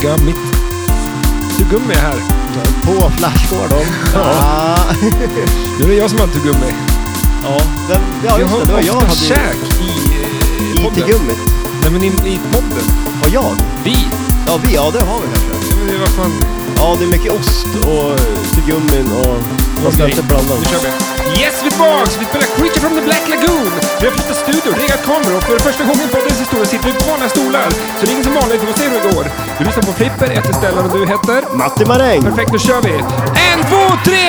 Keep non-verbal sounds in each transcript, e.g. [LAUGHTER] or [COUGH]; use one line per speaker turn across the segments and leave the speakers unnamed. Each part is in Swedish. Gummit. Tuggummi här.
På Flashgården.
Ja.
Ah.
Nu är det jag som har tuggummi.
ja, den, ja,
jag
just
har
det. Det var jag
ofta
hade
käk i eh,
ju
podden.
IT-gummit.
Nej men i, i podden.
Och jag?
Vi.
Ja, vi. Ja, det har vi kanske.
Men det var fan...
Ja, det är mycket ost och gummin och... Man ska
Okej,
inte blanda dem.
Nu kör vi. Yes, vi är tillbaks! Vi spelar Creature from the Black Lagoon! Vi har flyttat studio, riggat kameror och för första gången i poddens historia sitter vi på vanliga stolar. Så det är ingen som vanligt, vi får se hur det går. Du lyssnar på Flipper, jag heter Stellan och du heter?
Matti Maräng!
Perfekt, nu kör vi! En, två, tre!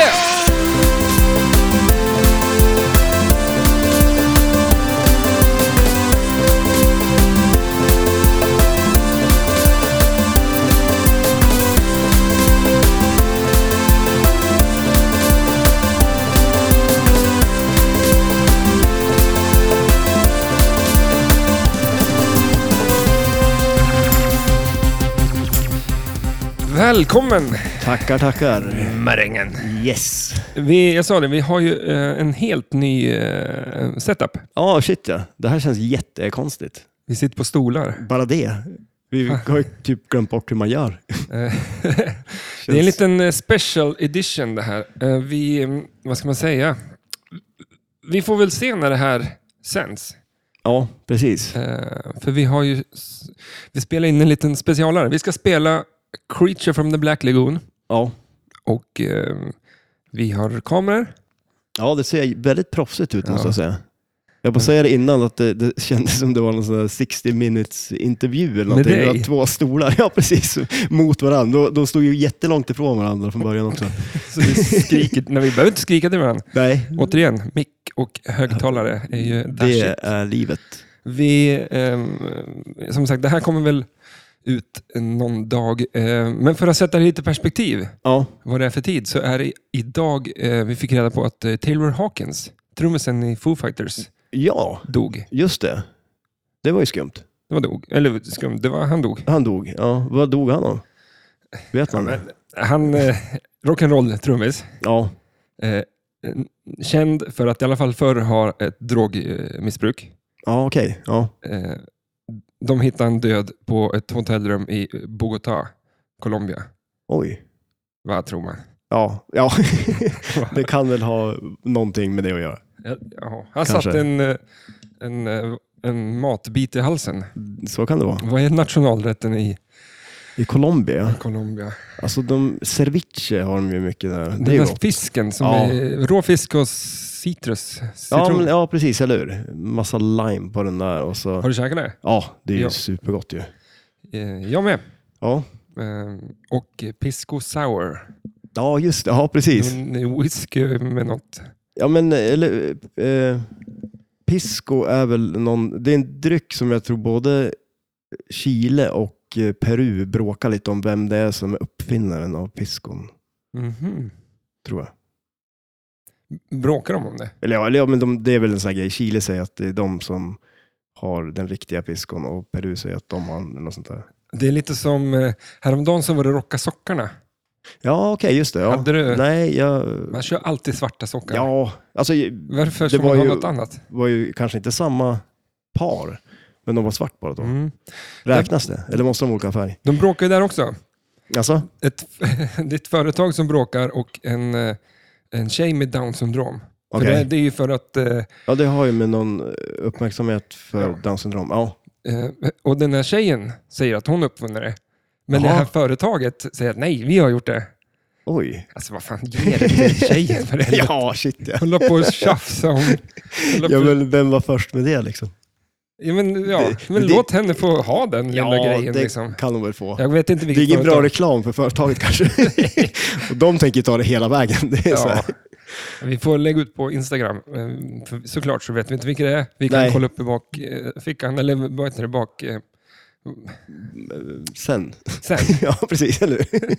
Välkommen,
Tackar, tackar.
Marängen.
Yes.
Vi, jag sa det, vi har ju eh, en helt ny eh, setup.
Ja, shit ja. Det här känns jättekonstigt.
Vi sitter på stolar.
Bara det. Vi har ju typ glömt bort hur man [LAUGHS] gör.
Eh, det är en liten eh, special edition det här. Eh, Vi, eh, vad ska man säga? Vi får väl se när det här sänds.
Ja, precis.
Eh, För vi har ju... s- Vi spelar in en liten specialare. Vi ska spela Creature from the Black Lagoon.
Ja.
Och eh, vi har kameror.
Ja, det ser väldigt proffsigt ut måste
Ja.
jag säga. Jag bara säga det innan, att det, det kändes som det var någon sån här 60 minutes intervju eller någonting.
dig?
Det var två stolar, [LAUGHS] ja precis, mot varandra. De, de stod ju jättelångt ifrån varandra från början också.
Så vi skriker... Nej, vi behöver inte skrika till varandra.
Nej,
Återigen, mick och högtalare är ju
det
dashigt.
är livet.
Vi, ehm, som sagt, det här kommer väl ut någon dag. Eh, men för att sätta det lite i perspektiv,
Ja,
vad det är för tid, så är det idag eh, vi fick reda på att eh, Taylor Hawkins, trummisen i Foo Fighters,
ja
dog.
just det. Det var ju skumt.
Det var dog. Eller skumt, det var han dog.
Han dog. Ja, vad dog han av? Vet man det?
Han, eh, [LAUGHS] rock'n'roll-trummis,
Ja,
eh, eh, känd för att i alla fall förr har ett drogmissbruk.
ja okej. Ja.
Eh, de hittade han död på ett hotellrum i Bogotá, Colombia.
Oj.
Vad tror man?
Ja, ja. [LAUGHS] det kan väl ha någonting med det att göra.
Ja, ja. Han
Kanske.
satt en, eh, en, eh, en matbit i halsen.
Så kan det vara.
Vad är nationalrätten i
I Colombia,
Colombia?
Alltså de, ceviche har de ju mycket där. Det
Den
är ju
där
gott.
fisken som
Ja.
är rå fisk och citrus.
Ja,
citron.
men, ja, precis, eller hur? Massa lime på den där och så...
Har du käkat det?
Ja, det är ju
Ja.
supergott ju.
Eh, Jag med.
Ja.
Eh, Och pisco sour.
ja, just det. Ja, precis.
En whisky med något.
Ja, men eller... Eh, pisco är väl någon... Det är en dryck som jag tror både Chile och eh, Peru bråkar lite om vem det är som är uppfinnaren av piscon,
Mhm.
tror jag.
Bråkar de om det?
Eller ja, eller, ja men de, det är väl en sån här grej. Chile säger att det är de som har den riktiga piscon och Peru säger att de har något sånt där.
Det är lite som eh, häromdagen så var det rocka sockarna.
Ja, okej, just det. Ja.
Hade du-
Nej, jag...
Man kör alltid svarta sockar.
Ja, alltså
Varför
Det
ska
var
man ha
ju-
något annat?
var ju kanske inte samma par, men de var svart bara då.
Mm.
Räknas det? Eller måste de ha olika färg?
De bråkar ju där också.
Alltså?
ett, [LAUGHS] det är ett företag som bråkar och en, eh, en tjej med down syndrom. För
Okej.
det, det är ju för att, eh,
Ja, det har ju med någon uppmärksamhet för
Ja.
Downs syndrom. Ja,
eh, och den här tjejen säger att hon uppfann det. Men det
Jaha.
här företaget säger att nej, vi har gjort det. [LAUGHS]
oj.
Alltså vad fan, ge det
[LAUGHS]
till tjejen för helvete.
Ja, [LAUGHS] shit ja.
Hålla på och tjafsa om... Hålla på,
Ja, men vem var först med det liksom?
ja, men, ja,
det-
men
det-
låt henne få ha den lilla grejen.
det
Liksom.
kan de väl få.
Jag vet inte
Det är
vilket
ingen bra
företag.
reklam för
[LAUGHS]
företaget kanske. [LAUGHS] och de tänker ta det hela vägen. Det är så
Ja.
här.
Vi får lägga ut på Instagram. Eh, för Såklart så vet vi inte vilka det är. Vi kan
Nej.
kolla upp i bakfickan, eller vad heter det, bak... eh,
Sen. [LAUGHS]
Sen.
Ja, precis. Eller hur?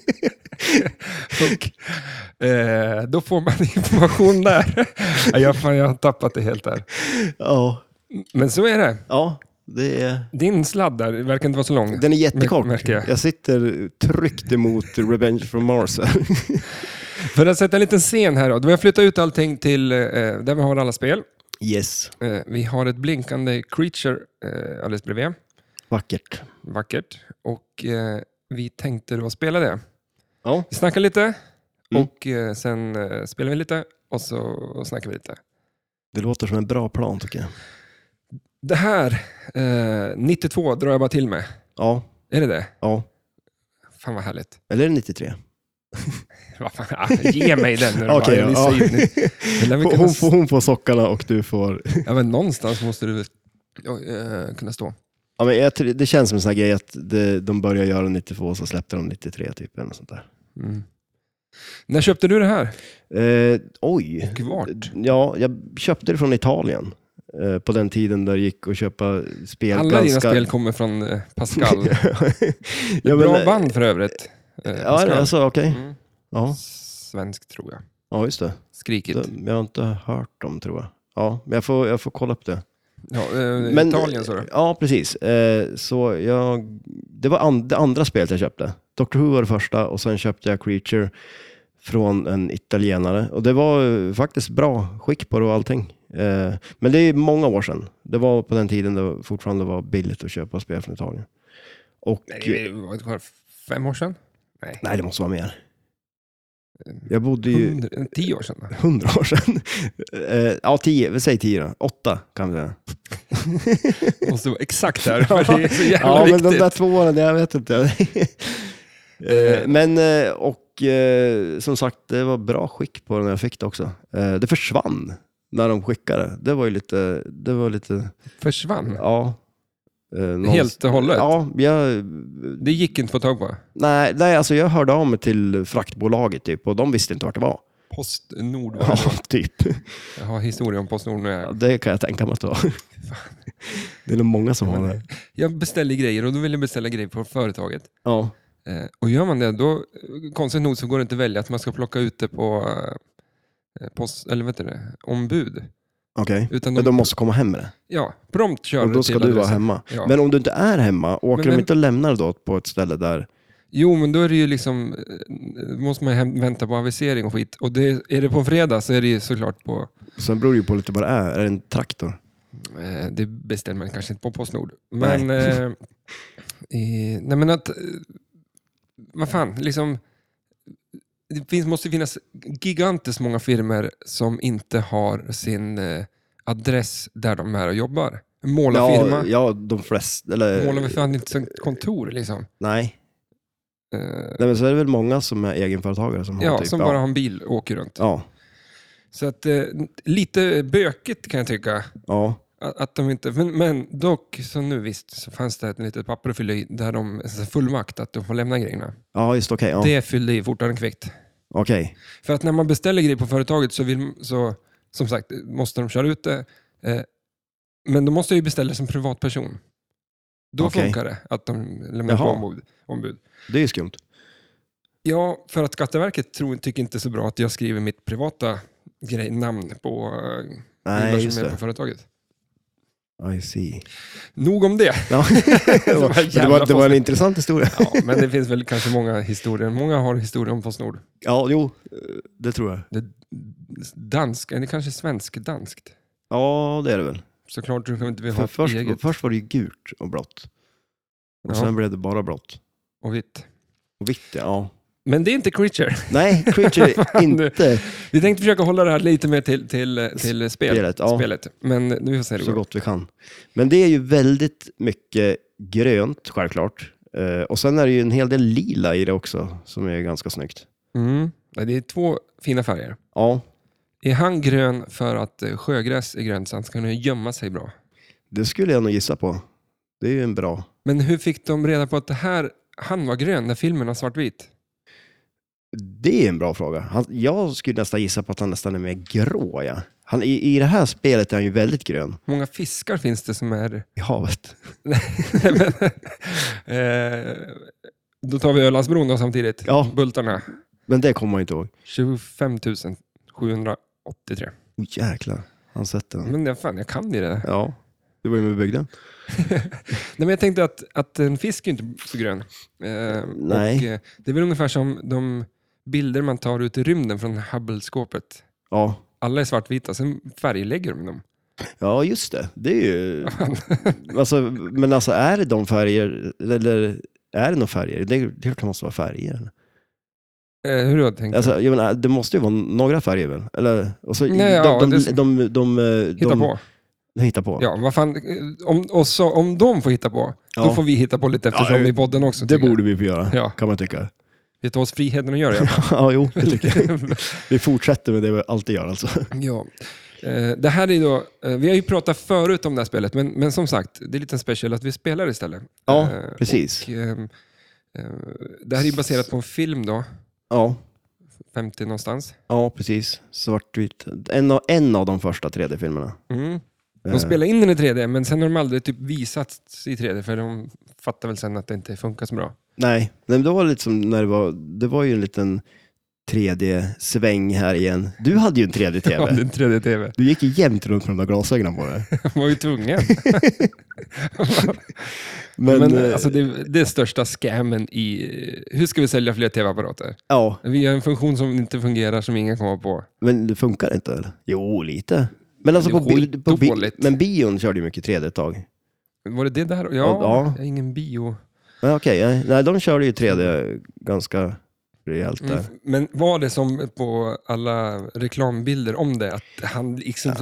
Och, eh, då får man [LAUGHS] information där. Ja, jag, fan, jag har tappat det helt där.
Ja.
Men så är det.
ja, det är...
Din sladd där verkar inte vara så lång.
Den är jättekort.
Mär- märker jag.
jag. sitter tryckt emot Revenge from Mars. här.
För att sätta en liten scen här då. Då har jag flyttat ut allting till eh, där vi har alla spel.
[LAUGHS] yes.
Eh, vi har ett blinkande creature eh, alldeles bredvid.
Vackert.
Vackert. Och eh, vi tänkte då spela det.
Ja.
Vi snackar lite
Mm.
och eh, sen eh, spelar vi lite och så snackar vi lite.
Det låter som en bra plan tycker jag.
Det här, eh, 92 drar jag bara till med.
Ja,
Är det det?
ja.
Fan vad härligt. [LAUGHS]
Eller är det 93?
Vad fan, ah, ge mig den nu då.
Okej,
Jag
ja.
missar ju nu. Det lär vi kunna
[LAUGHS] Hon,
s-
får, hon får sockarna och du får...
Ja, men någonstans måste du väl, ja, eh, kunna stå.
Ja, men jag, tror- det känns som en sån här grej att det, de började göra 92 och så släppte de 93 typ. Eller något sånt där.
Mm. När köpte du det här?
Eh, oj.
Och vart?
Ja, jag köpte det från Italien. Eh, på den tiden där det gick att köpa spel.
Alla dina
ganska...
spel kommer från eh, Pascal.
[LAUGHS] ja, men,
Bra
eh,
band för övrigt. Eh,
Ja, är det? alltså, okej.
Mm.
Ja.
Svensk tror jag.
ja, just det.
Skrikigt.
Det- Jag har inte hört dem tror jag. Ja, men jag får, jag får kolla upp det.
Ja, eh,
Men-
Italien sa du.
Ja, precis. Eh, så jag, det var an, det andra spelet jag köpte. Doctor Who var det första och sen köpte jag Creature från en italienare. Och det var eh, faktiskt bra skick på det och allting. Eh, men det är många år sedan. Det var på den tiden det fortfarande var billigt att köpa spel från Italien. Och,
Nej, det var det var fem år sedan? Nej,
nej, det måste vara mer.
Mm.
Jag bodde ju
hundra, eh, tio år sedan. [LAUGHS] då.
hundra år sedan. Eh, ja, tio, vi säger tio då. Åtta kan vi säga.
Måste vara exakt [LAUGHS] där, för det är så jävla
[LAUGHS] Ja, men
viktigt.
de där två åren, jag vet inte. Eh, men, eh, och eh, som sagt, det var bra skick på den när jag fick det också. Eh, Det försvann när de skickade. Det var ju lite, det var lite,
Försvann.
ja. eh, någon-
Mm. Helt och hållet.
Ja, jag,
Det gick inte att få tag på.
nej, nej, alltså jag hörde av mig till fraktbolaget typ och de visste inte vart det var.
Postnord var
[LAUGHS] Ja,
det.
typ.
Jag har historia om Postnord nu.
Ja,
Jag-
det kan jag tänka mig att det var. Det är nog många som har det.
Jag beställer grejer och då vill jag beställa grejer på företaget.
Ja,
Eh, och gör man det, då eh, konstigt nog så går det inte att välja att man ska plocka ut det på eh, post, eller vad heter det, ombud.
okej.
Utan
Men
de,
de måste komma hem med det.
ja, prompt kör
Och då
det
ska
till
du vara
adressen.
hemma.
Ja.
Men om du inte är hemma, åker
Men vem-
de inte och lämnar det då på ett ställe där?
Jo, men då är det ju liksom, eh, måste man ju hem, vänta på avisering och skit. Och det, är det på en fredag så är det ju såklart på,
Sen beror det ju på lite vad det är. Är det en traktor?
eh, det bestämmer man kanske inte på Postnord.
Nej.
Men, eh, eh, nej men att, eh, vad fan, liksom, det finns, måste finnas gigantiskt många firmer som inte har sin eh, adress där de är och jobbar. Målarfirma,
Ja, eh, ja, de flesta. Eller,
målar väl fan inte sitt kontor liksom.
nej.
Eh,
nej, men så är det väl många som är egenföretagare som har
ja,
typ...
som bara har en bil och åker runt.
ja,
Så att, eh, lite bökigt kan jag tycka.
ja,
Att, att de inte, men, men dock, som nu visst, så fanns det ett litet papper att fylla i där de alltså fullmakt att de får lämna grejerna.
ja, just okej. ja.
Det fyllde i fortare än kvickt.
Okej.
För att när man beställer grejer på företaget så, vill, så som sagt, måste de köra ut det. Eh, men då måste jag ju beställa som privatperson. Då
Okej.
funkar det att de lämnar på
Jaha.
ombud. ombud.
Det är ju skumt.
Ja, för att Skatteverket tror, tycker inte så bra att jag skriver mitt privata grej, namn på eh, bilar
Nej, just
som är på
det.
företaget. [LAUGHS]
I see.
Nog om det.
Ja. [LAUGHS] det,
var
var, det,
jävla
var, det var en
post-
intressant historia.
[LAUGHS] Ja, men det finns väl kanske många historier. Många har historier om Postnord.
Ja, jo, det tror jag.
Det dansk, eller kanske svensk-danskt.
Ja, det är det väl.
Såklart tror jag inte vi
För
har
först,
eget
först var det ju gult och blått. Och
Ja.
sen blev det bara blått.
och vitt.
Och vitt, ja.
Men det är inte Creature.
Nej,
[LAUGHS]
Creature är inte
Vi tänkte försöka hålla det här lite mer till, till, till spel,
spelet. Ja.
spelet. Men nu får vi se hur det
så
går.
gott vi kan. Men det är ju väldigt mycket grönt, självklart. Eh, och sen är det ju en hel del lila i det också, som är ganska snyggt.
Mm. Nej, Det är två fina färger.
Ja,
Är han grön för att eh, sjögräs är grönt så han ska kunna gömma sig bra?
det skulle jag nog gissa på. Det är ju en bra...
Men hur fick de reda på att det här, han var grön när filmen var svartvit?
Det är en bra fråga. Han, jag skulle nästan gissa på att han nästan är mer grå. Ja. Han, i, I det här spelet är han ju väldigt grön
Hur många fiskar finns det som är
i havet.
Nej, men, [LAUGHS] eh, då tar vi Ölandsbron då samtidigt.
Ja.
Bultarna.
Men det kommer man ju inte ihåg.
25 783.
Oh, jäklar, han sätter den.
Men jag, fan, jag kan ju det.
Ja, det var ju med byggden.
Nej, men jag tänkte att, att en fisk är ju inte så grön. Eh,
Nej.
Och, eh, det är väl ungefär som de bilder man tar ut i rymden från Hubble-skåpet.
Ja.
Alla är svartvita, sen färglägger de dem. [LAUGHS]
ja, just det. Det är ju... Alltså, men alltså är det de färger, eller Är det några färger? Det är klart det måste vara färger.
Eh, hur har du tänkt?
Alltså, jag menar, det måste ju vara några färger väl? Eller, och så,
Nej,
de,
ja,
de,
det-
de, de, de, eh,
hitta
de-
på.
de hittar på.
Ja, vad fan. eh, Om, och så, om de får hitta på, då
Ja.
får vi hitta på lite eftersom
Ja,
i podden också.
det
tycker jag.
borde vi få göra,
Ja.
kan man tycka. [LAUGHS]
Vi tar oss friheten att göra det.
ja, jo, det tycker jag.
[LAUGHS]
Vi fortsätter med det vi alltid gör alltså.
ja. Eh, Det här är ju då, eh, vi har ju pratat förut om det här spelet, men, men som sagt, det är lite special att vi spelar istället.
Ja,
Eh,
precis.
och, ehm, eh, det här är ju baserat på en film då,
Ja,
50 någonstans.
ja precis. Svartvitt. En av, en av de första 3D-filmerna.
Mm.
Eh,
De spelar in den i 3D, men sen har de aldrig typ visats i 3D, för de fattar väl sen att det inte funkar så bra.
Nej, Nej, men det var lite som när det var, det var ju en liten 3D-sväng här igen. Du hade ju en
[LAUGHS] Ja,
3D-TV.
det är en 3D-TV.
Du gick ju jämt runt med de där glasögonen på dig.
De var ju tvungen. [LAUGHS]
Men,
Men,
eh,
alltså, det, det är största scammen i... Hur ska vi sälja fler tv-apparater?
ja,
Vi har en funktion som inte fungerar, som ingen kommer på.
men det funkar inte eller? Jo, lite. Men alltså
Det är
på, bi- på bi-
skitdåligt.
men bion körde ju mycket 3D ett tag.
Var det det där? Ja,
Ja.
jag har ingen bio.
Men okej, nej, nej, de körde ju 3D ganska rejält där.
Mm. Men var det som på alla reklambilder om det, att hand, liksom,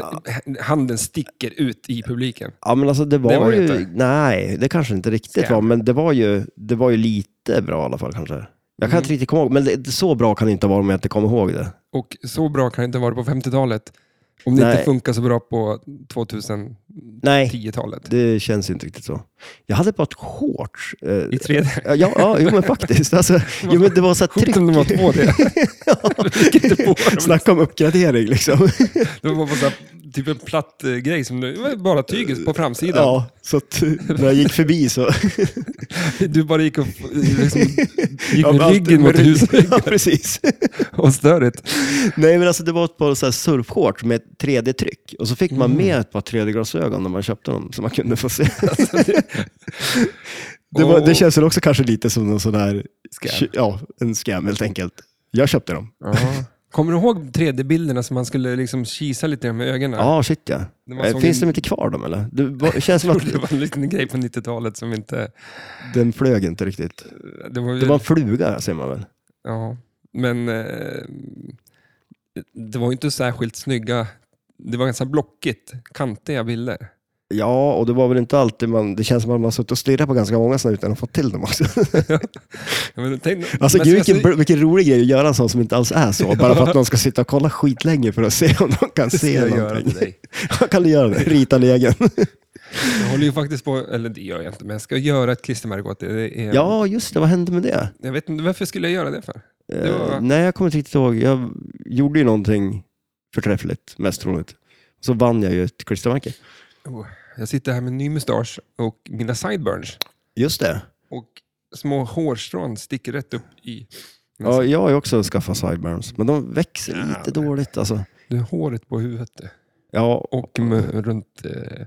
handen sticker ut i publiken?
Ja, men alltså det var,
Det var det
ju...
inte.
Nej, det kanske inte riktigt
Scam.
var, men det var, ju, det var ju lite bra i alla fall kanske. Jag kan
Mm.
inte riktigt komma ihåg, men det, så bra kan det inte vara om jag inte kommer ihåg det.
Och så bra kan det inte vara på 50-talet, om det inte
Nej.
funkar så bra på
Nej,
2010-talet.
det känns inte riktigt så. Jag hade ett par shorts. Eh,
I 3D.
ja, ja, jo men
[LAUGHS]
faktiskt. Alltså, jo, men det var så här
Sjukt om de var
tryck. [LAUGHS]
2D. Jag fick inte på dem.
Snacka om uppgradering liksom.
Det var bara så här, typ en platt eh, grej, som det var bara tyget på framsidan.
Ja, så att när jag gick förbi så...
[LAUGHS] Du bara gick, och,
[LAUGHS]
liksom, gick
Ja, men
med
allt-
ryggen mot
med ryggen.
huset
Ja, precis.
och störigt.
Nej, men alltså det var ett par så här surfshorts med 3D-tryck. Och så fick man
Mm.
med ett par 3D-glasögon när man köpte dem, så man kunde
[LAUGHS]
få se.
Alltså, det-
Det, var,
Och-
det känns väl också kanske lite som någon sån där...
Scam.
Ja, en scam helt enkelt. Jag köpte dem.
Ja. Kommer du ihåg 3D-bilderna som man skulle liksom kisa lite med ögonen?
Ja, shit ja.
När man
Eh,
såg
Finns
en-
de inte kvar dem eller? Det var, känns som
Jag
att
trodde [LAUGHS] det var en liten grej på 90-talet som inte...
den flög inte riktigt.
Det var, ju-
Det var en fluga, säger man väl?
ja. Men eh, det var ju inte särskilt snygga... Det var ganska blockigt, kantiga bilder.
Ja, och det var väl inte alltid man... Det känns som att man har suttit och stirrat på ganska många sådana utan att få till dem också.
Jag menar, tänk-
[LAUGHS] Alltså
men
gud,
så-
vilken, br- vilken rolig grej att göra en sån som inte alls är så. Bara för att någon ska sitta och kolla skitlänge för att se om de kan
det [LAUGHS] ska
se
jag göra
någonting.
till dig.
[LAUGHS] kan du göra det? Rita en egen.
Jag håller ju faktiskt på, eller det gör jag inte, men jag ska göra ett klistermärke åt det. det är,
Ja, just det. Vad hände med det?
Jag vet inte, varför skulle jag göra det för?
Eh,
Det var-
nej, jag kommer inte riktigt ihåg. Jag gjorde ju någonting förträffligt, mest troligt. Så vann jag ju ett klistermärke.
Oh, jag sitter här med en ny mustasch och mina sideburns.
Just det.
Och små hårstrån sticker rätt upp i...
Ja, jag har ju också skaffat sideburns, men de växer
Ja,
lite
men-
dåligt alltså.
Du har håret på huvudet du.
Ja,
och med, runt eh,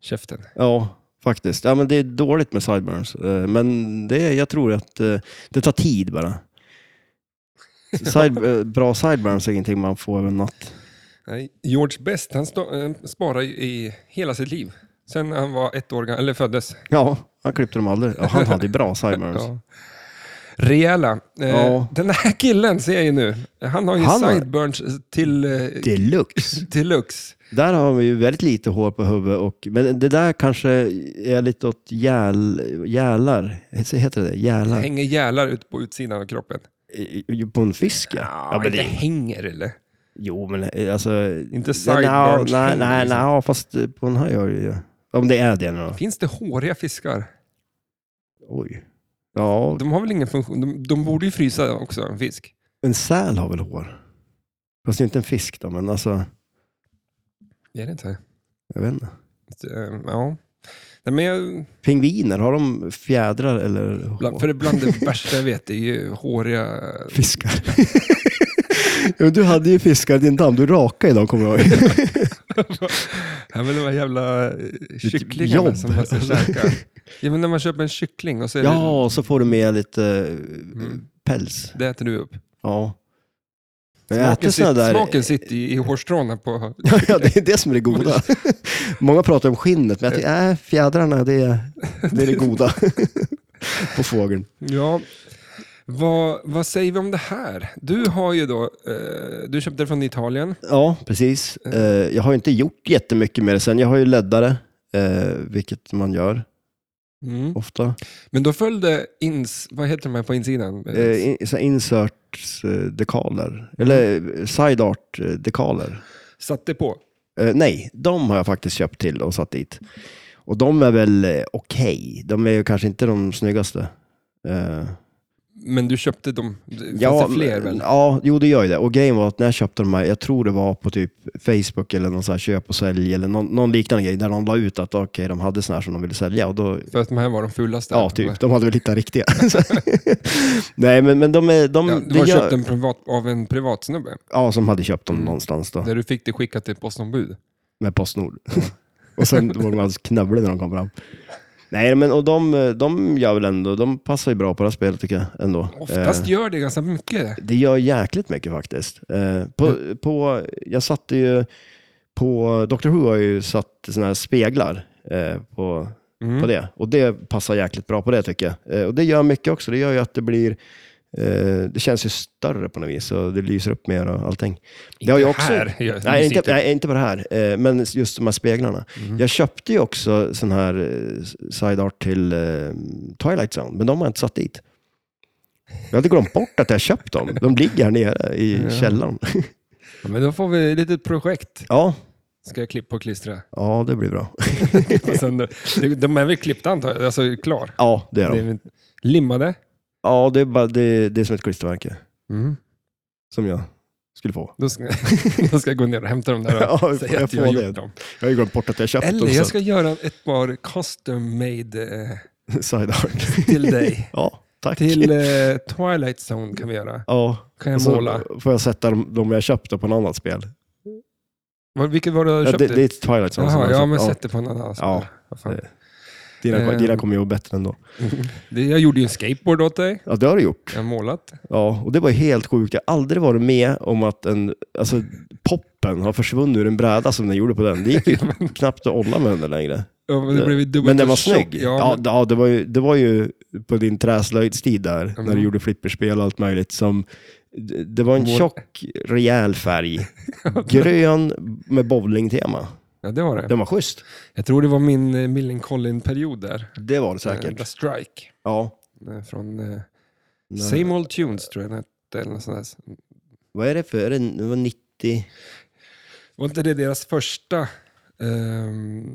käften.
Ja, faktiskt. Ja, men det är dåligt med sideburns. Eh, Men det, jag tror att eh, det tar tid bara. Side, eh, bra sideburns är ingenting man får över en natt.
Nej, George Best, han stå, eh, sparar ju i hela sitt liv. Sen han var ett år gammal, eller föddes.
Ja, han klippte dem aldrig. Ja, han hade ju bra sideburns.
Ja. Rejäla. Eh,
Ja.
Den här killen ser jag ju nu. Han har ju
Han har-
sideburns till, eh,
Deluxe.
till lux.
Där har vi ju väldigt lite hår på huvudet. Och, men det där kanske är lite åt gäl, gälar. Heter det det?
Det
Gälar?
hänger gälar ut på utsidan av kroppen.
I- i- Eh, På en fisk ja. ja men
det
det,
hänger eller?
jo, men eh, alltså...
Inte
Nej,
sideburns.
nej,
hänger,
nej,
liksom.
nej, fast eh, på den här gör det ju. Om det är det nu då.
Finns det håriga fiskar?
Oj. Ja,
De har väl ingen funktion? De, de borde ju frysa också, en fisk.
en säl har väl hår? Fast det är inte en fisk då, men alltså,
Är det inte?
jag vet inte.
Så, eh, Ja. Nej, men jag,
Pingviner, har de fjädrar eller hår?
bland, för bland det värsta jag vet är ju håriga...
Fiskar. [LAUGHS] ja, men du hade ju fiskar i din damm, du rakade idag kommer
[LAUGHS]
jag ihåg.
Ja, men de här jävla eh, kycklingarna
jobb,
som man ska
alltså.
käka. Ja, men när man köper en kyckling och så är
ja, och så får du med lite eh,
Mm.
päls.
det, det äter du upp.
Ja. Men jag äter
Smaken,
såna
sit,
där...
smaken sitter i, i hårstråna på...
[LAUGHS]
[LAUGHS]
ja, det är det som är det goda. Många pratar om skinnet, men jag tycker, äh, fjädrarna, det är det, är det goda. [LAUGHS] på fågeln.
Ja. Vad, vad säger vi om det här? Du har ju då, eh, du köpte det från Italien.
Ja, precis.
Mm.
Eh, jag har ju inte gjort jättemycket med det sen. Jag har ju leddare, eh, vilket man gör ofta.
Mm. Men då följde, ins, vad heter de här på insidan?
Eh, in, så här inserts eh, dekaler, eller
Mm.
eh, side art eh, dekaler.
Satte på.
Eh, nej, de har jag faktiskt köpt till och satt dit. Och de är väl eh, okej. De är ju kanske inte de snyggaste. Eh,
Men du köpte dem, ja, fanns det fler väl?
Ja, jo det gör ju det. Och grejen var att när jag köpte de här, jag tror det var på typ Facebook eller någon så här köp och sälj eller någon, någon liknande grej, där de la ut att okej, de hade såna här som de ville sälja. Och då,
För att de här var de fulaste.
ja, typ. De hade väl hittat riktiga. [LAUGHS] Nej, men, men de är... De,
Ja,
Mm, det
du har
gör-
köpt en privat, av en privatsnubbe,
Ja, som hade köpt dem någonstans då,
där du fick det skickat till postombud.
med Postnord. [LAUGHS] och sen var de alldeles knövliga när de kom fram. Nej, men och de, de gör väl ändå, de passar ju bra på det här spelet tycker jag ändå.
Oftast
Eh,
gör det ganska mycket.
det gör jäkligt mycket faktiskt. Eh, på, på, jag satte ju, på Dr. Who har jag ju satt sådana här speglar eh, på,
Mm.
på det. Och det passar jäkligt bra på det tycker jag. Eh, och det gör mycket också, det gör ju att det blir eh, det känns ju större på något vis och det lyser upp mer och allting. Det har jag också,
Här, gör-
Nej inte,
sitter-
nej, inte på det här, eh, men just de här speglarna.
Mm.
Jag köpte ju också sån här eh, side art till eh, Twilight Zone, men de har jag inte satt dit. Jag hade glömt bort att jag köpt dem. De ligger här nere i
Ja.
källaren.
Ja, Men då får vi ett litet projekt.
Ja,
Ska jag klippa och klistra. [LAUGHS]
ja det blir bra.
Och sen, de- de är väl klippta antar jag, alltså klar.
Ja, det är
Det är
de.
väl- Limmade.
Ja, det är, bara, det, det är som ett klistermärke
Mm.
som jag skulle få.
Då, ska, [LAUGHS] då ska jag gå ner och hämta dem där och
[LAUGHS] Ja, jag
säga att
får
jag har gjort
det.
dem.
Jag har ju glömt bort att jag köpt
Eller
dem.
jag
så
ska göra ett par custom made eh,
att- [LAUGHS] Side art.
till
[LAUGHS]
dig.
Ja, tack.
Till eh, Twilight Zone kan vi göra.
Ja,
Kan
och
jag
så
måla.
får jag sätta de, de jag köpte på något annat spel.
Vad- Vilket var det du
Ja,
köpte?
det, det är Twilight Zone. som
Jaha,
jag
ja,
köpte.
men sätt det på en annan. Alltså.
Ja.
Vad fan.
Dina,
Eh.
dina kommer ju vara bättre ändå.
Det, jag gjorde ju en skateboard åt dig.
Ja, det har du gjort.
Jag har målat.
Ja, och det var ju helt sjukt. Jag har aldrig varit med om att en, alltså, poppen har försvunnit ur en bräda som den gjorde på den. Det gick
[LAUGHS]
ju knappt att olla med den längre.
Ja, men det blev ju dubbelt
Men den
så
var
tjock.
snygg.
Ja,
Ja,
men-
ja, det, var ju, det var ju på din träslöjdstid där, när du
Mm.
gjorde flipperspel och allt möjligt. Som, det- det var en
Vår-
tjock, rejäl färg.
[LAUGHS]
Grön med bowlingtema.
ja, det var det.
Den var schysst.
Jag tror det var min eh, Millencolin-period där.
Det var det
Eh,
säkert.
The Strike.
Ja.
Eh, Från eh,
Nej.
Same Old Tunes tror jag den hette. Eller något sånt där.
Vad är det för? Är det, det var 90?
Var inte det deras första... ehm,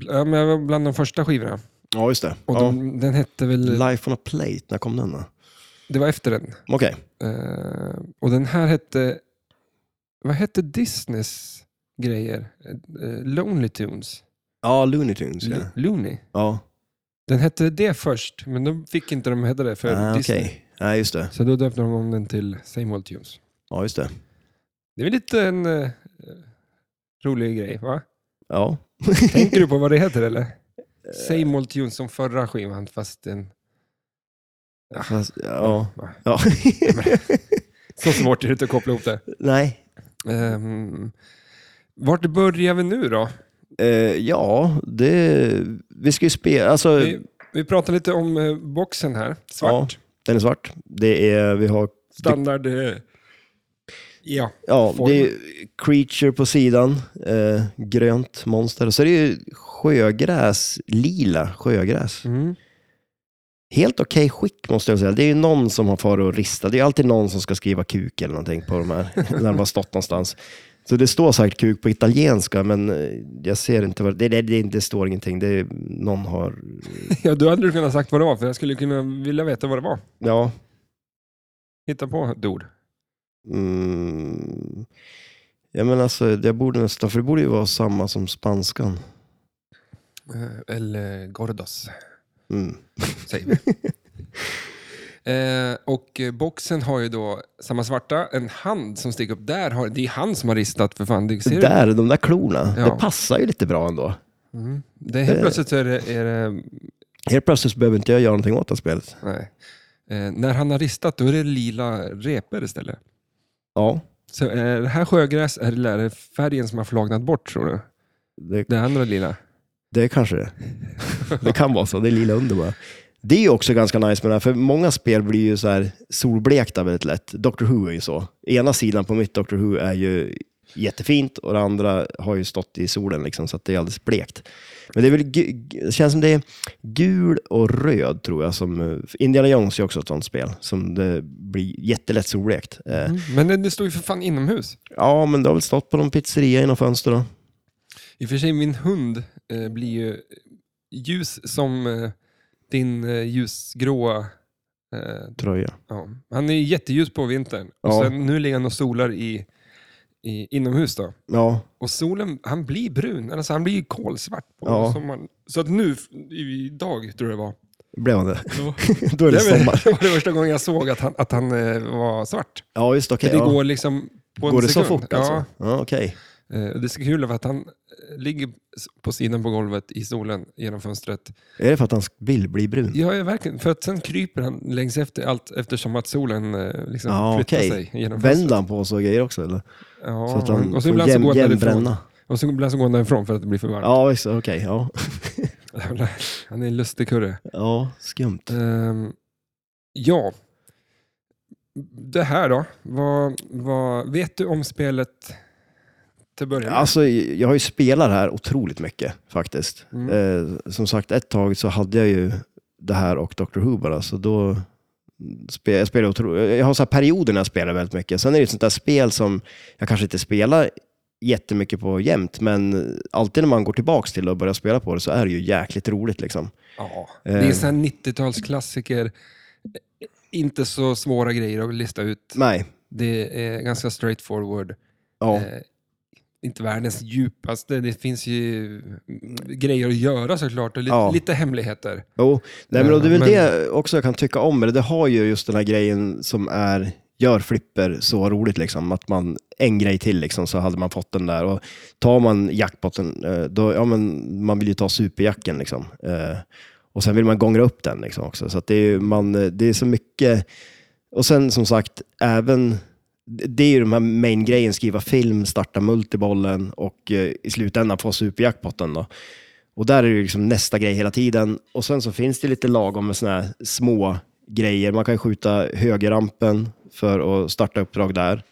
ja, men jag var bland de första skivorna.
Ja, just det.
Och
Ja.
de, den hette väl...
Life on a plate, när kom den då?
Det var efter den.
Okej.
Eh, och den här hette... Vad hette Disneys grejer? Eh, Lonely Tunes?
Ja, Looney Tunes. Ja.
L- Looney?
ja.
Den hette det först, men de fick inte de hette det för
Ah,
Disney.
Okej. Nej, just det.
Så då döpte de om den till Same Old Tunes.
Ja, just det.
Det är väl lite en eh, rolig grej,
[LAUGHS]
va?
Ja. Eh,
Tänker du på vad det heter eller?
[LAUGHS]
Same Old Tunes som förra skivan, fast den...
Fast, ja.
Va?
ja. [LAUGHS]
Så svårt är det inte att koppla ihop det.
Nej.
Um, vart börjar vi nu då?
Eh, ja, det... Vi ska ju spela... Alltså,
Vi, vi pratar lite om eh, boxen här. Svart.
den är svart. Det är... Vi har...
Standard... eh, ja.
Ja,
Form.
det är creature på sidan. Eh, grönt monster. Och så är det ju sjögräs. Lila sjögräs.
Mm.
Helt okej skick måste jag säga. Det är ju någon som har farit och ristat. Det är alltid någon som ska skriva kuk eller någonting på de här. [LAUGHS] när de har stått någonstans. Så det står säkert kuk på italienska, men eh, jag ser inte vad det, det, det, det står ingenting. Det är,
[LAUGHS]
någon har...
[LAUGHS] ja, då hade du kunnat sagt vad det var, för jag skulle kunna vilja veta vad det var.
Ja.
Hitta på ett ord.
Mm, ja men alltså, det borde nästan... För det borde ju vara samma som spanskan.
Eh, Eller
[LAUGHS]
Gordos,
Mm.
säger vi. Eh, och eh, boxen har ju då samma svarta, en hand som sticker upp där. Har, det är han som har ristat för fan. Det, ser
Där, de där klorna.
Ja.
Det passar ju lite bra ändå.
Du? Mm. det är helt
Eh.
plötsligt så är det... Är det
Helt plötsligt så behöver inte jag göra någonting åt det här spelet.
nej. Eh, när han har ristat, då är det lila repor istället.
Ja,
Så eh, det här sjögräs, är det- är det färgen som har flagnat bort tror du?
det
Det andra lila? [LAUGHS]
Det kanske det är. Det kan vara så. Det är lila under bara. Det är ju också ganska nice med det här, för många spel blir ju så här solblekta väldigt lätt. Doctor Who är ju så. Ena sidan på mitt Doctor Who är ju jättefint och det andra har ju stått i solen liksom, så att det är alldeles blekt. Men det är väl, gu- gu- det känns som det är gul och röd tror jag. Som, eh, Indiana Jones är ju också ett sånt spel som det blir jättelätt solblekt. Eh,
Men det- det står ju för fan inomhus.
Ja, men det har väl stått på någon pizzeria i något fönster då.
I och för sig, min hund eh, blir ju ljus som eh, din eh, ljusgråa... Eh,
Tröja.
ja. Han är ju jätteljus på vintern.
Ja.
Och sen, nu ligger han och solar i, i, inomhus. Då.
Ja,
Och solen, han blir brun. Alltså han blir ju kolsvart på
Ja.
sommaren. Så att nu, i- idag tror jag det var.
blev han det?
Då,
[LAUGHS] Då är det
[LAUGHS] det
sommar.
var det första gången jag såg att han, att han eh, var svart.
Ja, just okej.
För det
ja.
går liksom på en
Går det så
sekund.
fort alltså? Ja, okej.
Ja, eh, och det är så kul för att han eh, ligger s- på sidan på golvet i solen genom fönstret.
Är det för att han vill bli brun?
Ja, ja, verkligen. För att sen kryper han längs efter allt eftersom att solen eh, liksom
Ja,
flyttar
okej.
sig genom fönstret.
Vänder han på sig och grejer också eller?
Ja,
så att han
och så
får
ibland så
jäm,
går han därifrån.
jämnbränna?
Och så ibland så går han därifrån för att det blir för varmt.
Ja, just det. Okej. Ja.
[LAUGHS] Han är en lustig kurre.
ja, skumt.
Ehm, ja. Det här då? Vad, vad vet du om spelet till början?
Alltså, jag har ju spelat det här otroligt mycket faktiskt.
Mm.
Eh, som sagt, ett tag så hade jag ju det här och Dr. Who bara, så då spe, jag spelar otro, Jag har så här perioder när jag spelar väldigt mycket. Sen är det ju ett sånt där spel som jag kanske inte spelar jättemycket på jämt, men alltid när man går tillbaks till det och börjar spela på det så är det ju jäkligt roligt liksom.
ja, det är
ehm.
så här 90-talsklassiker. Inte så svåra grejer att lista ut.
Nej,
Det är ganska straightforward.
ja.
Eh, inte världens djupaste. Det finns ju mm, grejer att göra såklart och lite,
Ja.
lite
[LAUGHS]
hemligheter.
Jo, nej, men och det är väl
eh, Men-
det också jag kan tycka om med det. Det har ju just den här grejen som är, gör flipper så roligt liksom. Att man, en grej till liksom, så hade man fått den där. Och tar man jackpotten, eh, då, ja men man vill ju ta superjacken liksom. Eh, Och sen vill man gångra upp den liksom också. Så att det, är, ju- man, eh, det är så mycket. Och sen som sagt, även det är ju de här main-grejen, skriva film, starta multibollen och eh, i slutändan få superjackpotten då. Och där är det ju liksom nästa grej hela tiden. Och sen så finns det lite lagom med såna här små grejer. Man kan skjuta högerrampen för att starta uppdrag där.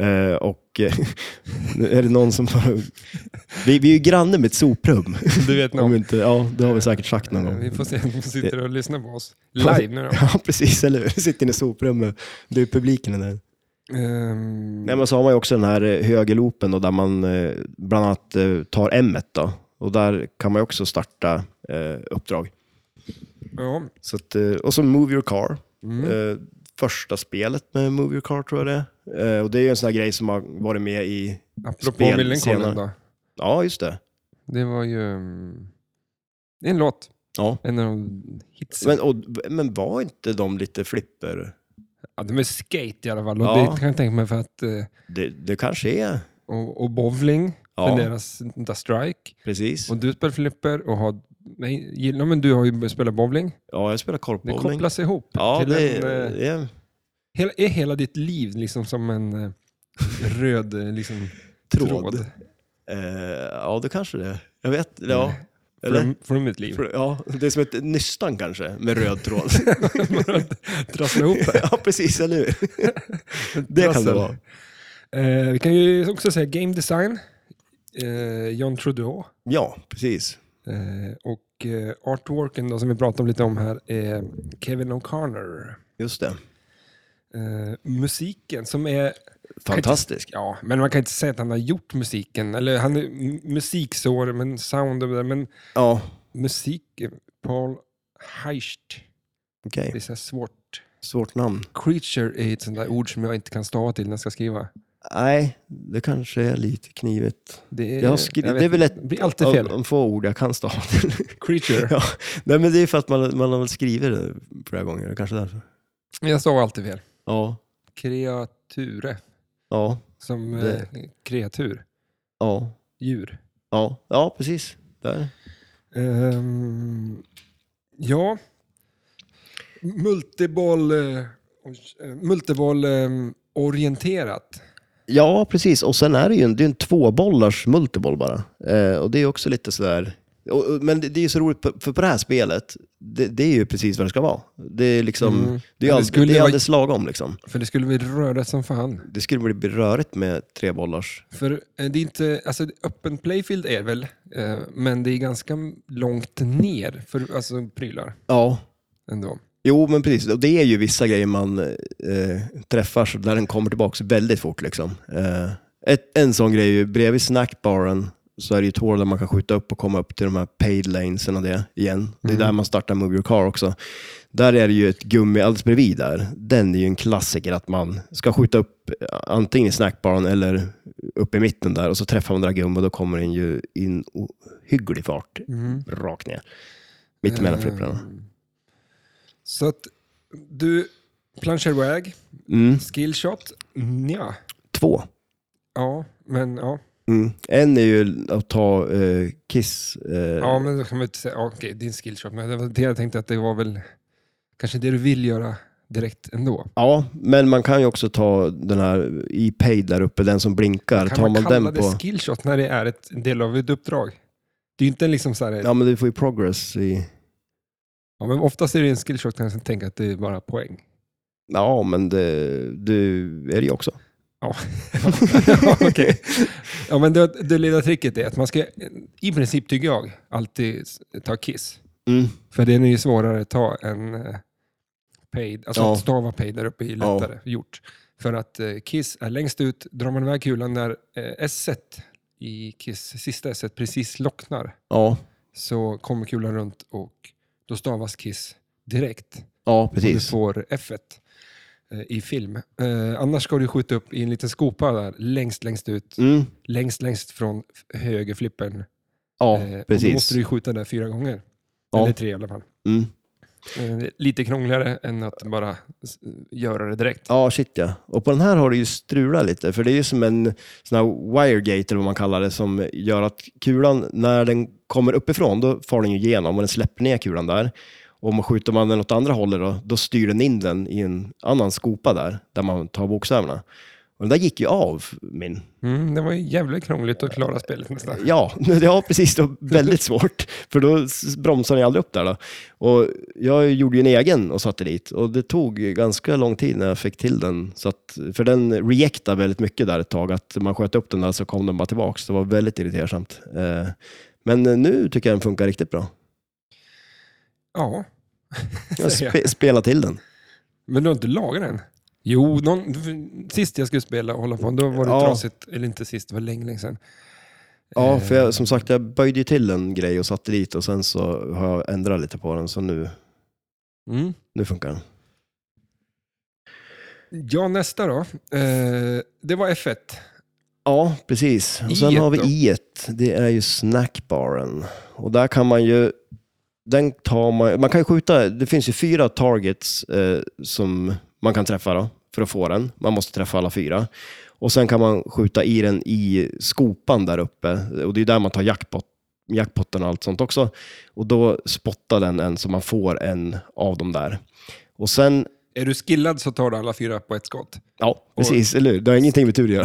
Eh, och [LAUGHS] eh, nu är det någon som... vi, vi är ju granne med ett soprum.
Du vet
Om
någon.
inte, ja, det har vi säkert sagt någon gång.
Vi får se om de sitter och lyssnar på oss live nu då.
Ja, precis. Eller hur? Sitter inne i soprummet. Det är ju publiken där.
Ehm,
Nej, men så har man ju också den här eh, högerloopen då, där man eh, bland annat eh, tar M då. Och där kan man ju också starta eh, uppdrag.
ja.
Så att, eh, och så Move Your Car.
Mm.
Eh, första spelet med Move Your Car tror jag det är. Eh, och det är ju en sån här grej som har varit med i...
Apropå
spel
Millencolin
senare.
då.
Ja, just det.
Det var ju... mm, Det är en låt.
Ja.
En av de hitsen.
Men, och, men var inte de lite flipper?
Ja, de är skate i alla fall. Och
Ja.
Det kan jag tänka mig för att... eh,
Det, det kanske är...
Och, och bowling.
Ja.
För deras The Strike.
Precis.
Och du spelar flipper och har... Nej, gillar, men du har ju spelat bowling.
Ja, jag spelar
Det
korpbowling.
kopplas ihop.
Ja,
till
det,
en, eh,
det är
hela, är hela ditt liv liksom som en eh, röd eh, liksom,
tråd.
tråd?
Eh, ja, det kanske det är. Jag vet, ja.
Mm.
Eller?
Från, från mitt liv.
Ja, det är som ett nystan kanske, med
[LAUGHS]
röd tråd.
Bara att Trassla
[LAUGHS]
ihop det.
ja, precis, eller
[LAUGHS]
hur? Det kan det
Trassel.
vara.
Eh, vi kan ju också säga game design. Eh, John Trudeau.
Ja, precis.
Eh, och eh, artworken då, som vi pratade om lite om här är Kevin O'Connor.
Just det.
Eh, musiken som är...
Fantastisk.
Ja, men man kan inte säga att han har gjort musiken. Eller han är m- musiksår, men sound och det där. Men
Ja,
musik, eh, Paul Heist.
okej.
Det är så här svårt.
Svårt namn.
Creature är ett sånt där ord som jag inte kan stava till när jag ska skriva.
Nej, det kanske är lite knivigt.
Det är,
Jag har skrivit-
vet
det är väl ett-
inte. Det blir alltid fel.
Av [LAUGHS] de få ord jag kan stava till. [LAUGHS]
Creature.
ja. Nej, men det är för att man, man har väl skrivit det flera gånger, kanske därför.
Jag stavar alltid fel.
Ja,
Kreature.
ja,
Som
Det-
eh, kreatur.
ja,
Djur.
ja, ja precis. Där.
Ehm, ja. Multiboll... Eh, oj, eh, multiboll eh, orienterat.
Ja, precis. Och sen är det ju en, det är en tvåbollars multiboll bara. Eh, och det är ju också lite sådär Och, och- men det, det är ju så roligt, på- för på det här spelet, det, det är ju precis vad det ska vara. Det är liksom,
Mm.
det är,
Ja, det
alldeles,
skulle
det är
vara-
alldeles lagom liksom.
För det skulle bli röret som fan.
Det skulle bli rörigt med tre bollars.
För eh, det är inte, alltså öppen playfield är väl, eh, men det är ganska långt ner för alltså, prylar
Ja.
ändå.
Jo, men precis. Och det är ju vissa grejer man eh, träffar så där den kommer tillbaka väldigt fort. Liksom. Eh, ett, en sån grej är ju, bredvid snackbaren så är det ju ett hål där man kan skjuta upp och komma upp till de här paid lanesen och det igen. Det är
Mm.
där man startar Move Your Car också. Där är det ju ett gummi alldeles bredvid där. Den är ju en klassiker att man ska skjuta upp antingen i snackbaren eller uppe i mitten där och så träffar man det där gummit och då kommer den ju in ohygglig fart
Mm.
rakt ner. Mitt emellan flipprarna.
Eh, Så att du, planchar iväg,
Mm.
skillshot, ja.
Två.
Ja, men ja.
Mm. En är ju att ta eh, Kiss. Eh,
Ja, men då kan man inte säga, ja, okej, din skillshot. Men det var det jag tänkte att det var väl kanske det du vill göra direkt ändå.
ja, men man kan ju också ta den här i pay där uppe, den som blinkar.
Kan
Tar
man,
man
kalla
den
det
på...
skillshot när det är ett en del av ett uppdrag? Det är ju inte en liksom så här, ja.
Ja, men du får ju progress i...
men oftast är det en skillshot kan jag tänka att det är bara poäng.
Ja, men det, du är det ju också. [LAUGHS]
ja, okej. ja, men det, det lilla tricket är att man ska, i princip tycker jag, alltid s- ta kiss.
Mm.
För den är ju svårare att ta än eh, paid. Alltså
Ja.
att stava paid där uppe är ju
Ja.
lättare gjort. För att eh, Kiss är längst ut, drar man iväg kulan när eh, s i Kiss, sista s precis locknar
Ja,
så kommer kulan runt och då stavas Kiss direkt.
ja,
Och du
precis.
får f eh, i film. Eh, annars ska du skjuta upp i en liten skopa där, längst, längst ut,
Mm.
längst, längst från f- högerflippen.
Ja,
Eh, och då måste
precis.
du ju skjuta där fyra gånger.
Ja.
Eller tre i alla fall.
Mm.
Eh, Lite krångligare än att bara s- göra det direkt.
Ja, shit ja. Och på den här har det ju strulat lite, för det är ju som en sån här wiregate, eller vad man kallar det, som gör att kulan, när den kommer uppifrån, då far den ju igenom och den släpper ner kulan där. Och om man skjuter man den åt andra hållet då, då styr den in den i en annan skopa där, där man tar bokstäverna. Och den där gick ju av min.
Mm, det var ju jävligt krångligt att klara spelet nästan.
Ja, [LAUGHS] ja precis. Det var väldigt svårt, för då s- bromsar den ju aldrig upp där. Då. Och jag gjorde ju en egen och satte dit och det tog ganska lång tid när jag fick till den. Så att, för den reactade väldigt mycket där ett tag, att man sköt upp den där så kom den bara tillbaks. Det var väldigt irritersamt. Eh, Men nu tycker jag den funkar riktigt bra.
Ja.
Jag
säger jag.
spe, spela till den.
Men du har inte lagat den? Jo, någon, sist jag skulle spela och hålla på, då var det
Ja.
trasigt. Eller inte sist, det var länge, länge sedan.
Ja,
Eh,
för jag, som sagt, jag böjde ju till en grej och satte dit och sen så har jag ändrat lite på den, så nu,
Mm.
nu funkar den.
Ja, nästa då. Eh, det var F1.
Ja, precis. Och sen
I-et
har vi
då?
i Det är ju snackbaren. Och där kan man ju... Den tar man, man kan ju skjuta... Det finns ju fyra targets eh, som man kan träffa då, för att få den. Man måste träffa alla fyra. Och sen kan man skjuta i den i skopan där uppe. Och det är där man tar jackpot, jackpotten och allt sånt också. Och då spottar den en så man får en av dem där. Och sen...
Är du skillad så tar du alla fyra på ett skott.
Ja, precis. Eller hur? Det har ingenting med tur att göra.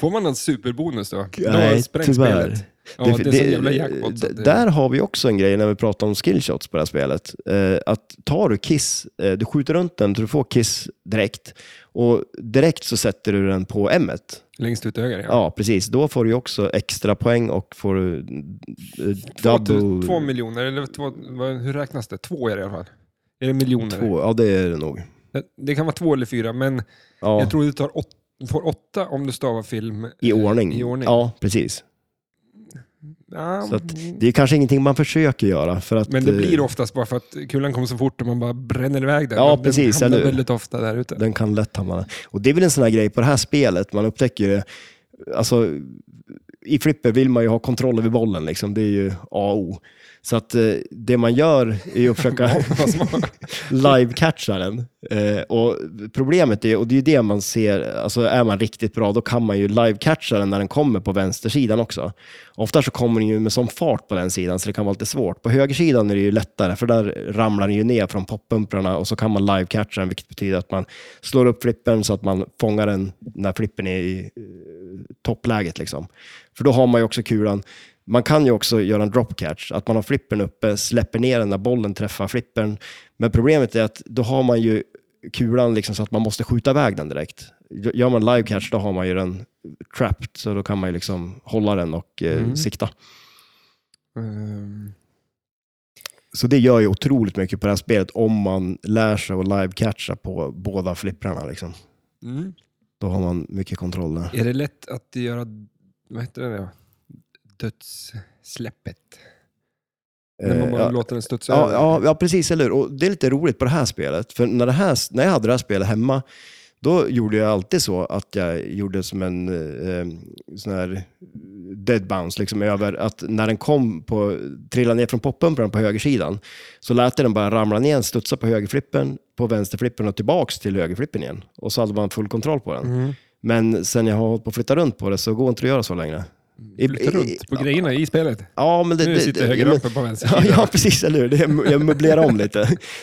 Får man någon superbonus då? då
Nej,
sprängs
tyvärr.
spelet. Ja, det, är som en jävla jackpot. så att det-
Där har vi också en grej när vi pratar om skillshots på det här spelet. Eh, att tar du kiss, eh, du skjuter runt den så du får kiss direkt och direkt så sätter du den på m
Längst ut till höger, ja.
Ja, precis. Då får du ju också extra poäng och får du eh,
Två,
double...
tu- två miljoner, eller två, vad- hur räknas det? Två är det i alla fall. Är det miljoner?
Två, ja det är det nog.
Det- Det kan vara två eller fyra, men
Ja,
jag tror du tar åt, du får åtta om du stavar film eh,
I ordning.
I ordning.
Ja, precis.
Ja,
Så att Det är kanske ingenting man försöker göra. För att,
Mm. Men det
eh,
blir ofta bara för att kulan kommer så fort och man bara bränner iväg den.
Ja,
Och den
precis,
hamnar
eller hur?
väldigt ofta där ute.
Den kan lätt hamna. Och det är väl en sån här grej på det här spelet, man upptäcker ju det. Alltså, I flipper vill man ju ha kontroll över bollen, liksom. det är ju A och O. Så att eh, det man gör är ju
[LAUGHS]
att försöka
Vad smart.
live-catcha den. Eh, och problemet är, och det är ju det man ser, alltså är man riktigt bra, då kan man ju live-catcha den när den kommer på vänstersidan också. Ofta så kommer den ju med sån fart på den sidan, så det kan vara lite svårt. På högersidan är det ju lättare, för där ramlar den ju ner från poppumprarna och så kan man live-catcha den, vilket betyder att man slår upp flippen så att man fångar den när flippen är i eh, toppläget. Liksom. För då har man ju också kulan Man kan ju också göra en drop catch, att man har flippern uppe, släpper ner den när bollen träffar flippern. Men problemet är att då har man ju kulan liksom så att man måste skjuta iväg den direkt. Gör man live catch då har man ju den trapped, så då kan man ju liksom hålla den och eh,
Mm.
sikta.
Ehm,
Så det gör ju otroligt mycket på det här spelet om man lär sig att live catcha på båda flipprarna. Liksom.
mm.
Då har man mycket kontroll där.
Är det lätt att göra, vad heter det då? Dödssläppet? När man
Eh,
bara
ja.
låter den studsa
Ja,
över.
ja, ja, precis, eller hur? Och det är lite roligt på det här spelet, för när, det här, när jag hade det här spelet hemma, då gjorde jag alltid så att jag gjorde som en eh, sån här dead bounce, liksom över att när den kom på, trillade ner från poppumpen på högersidan, så lät jag den bara ramla ner, studsa på högerflippen, på vänsterflippen och tillbaks till högerflippen igen. Och så hade man full kontroll på den.
Mm.
Men sen jag har hållit på att flytta runt på det så går inte att göra så längre. I-
Flytta runt på grejerna i spelet.
Ja, men det,
nu
det,
sitter
det-
höger
men-
uppe på vänster
Ja,
sida.
ja, precis. Eller hur? Det, är- jag möblerar om lite.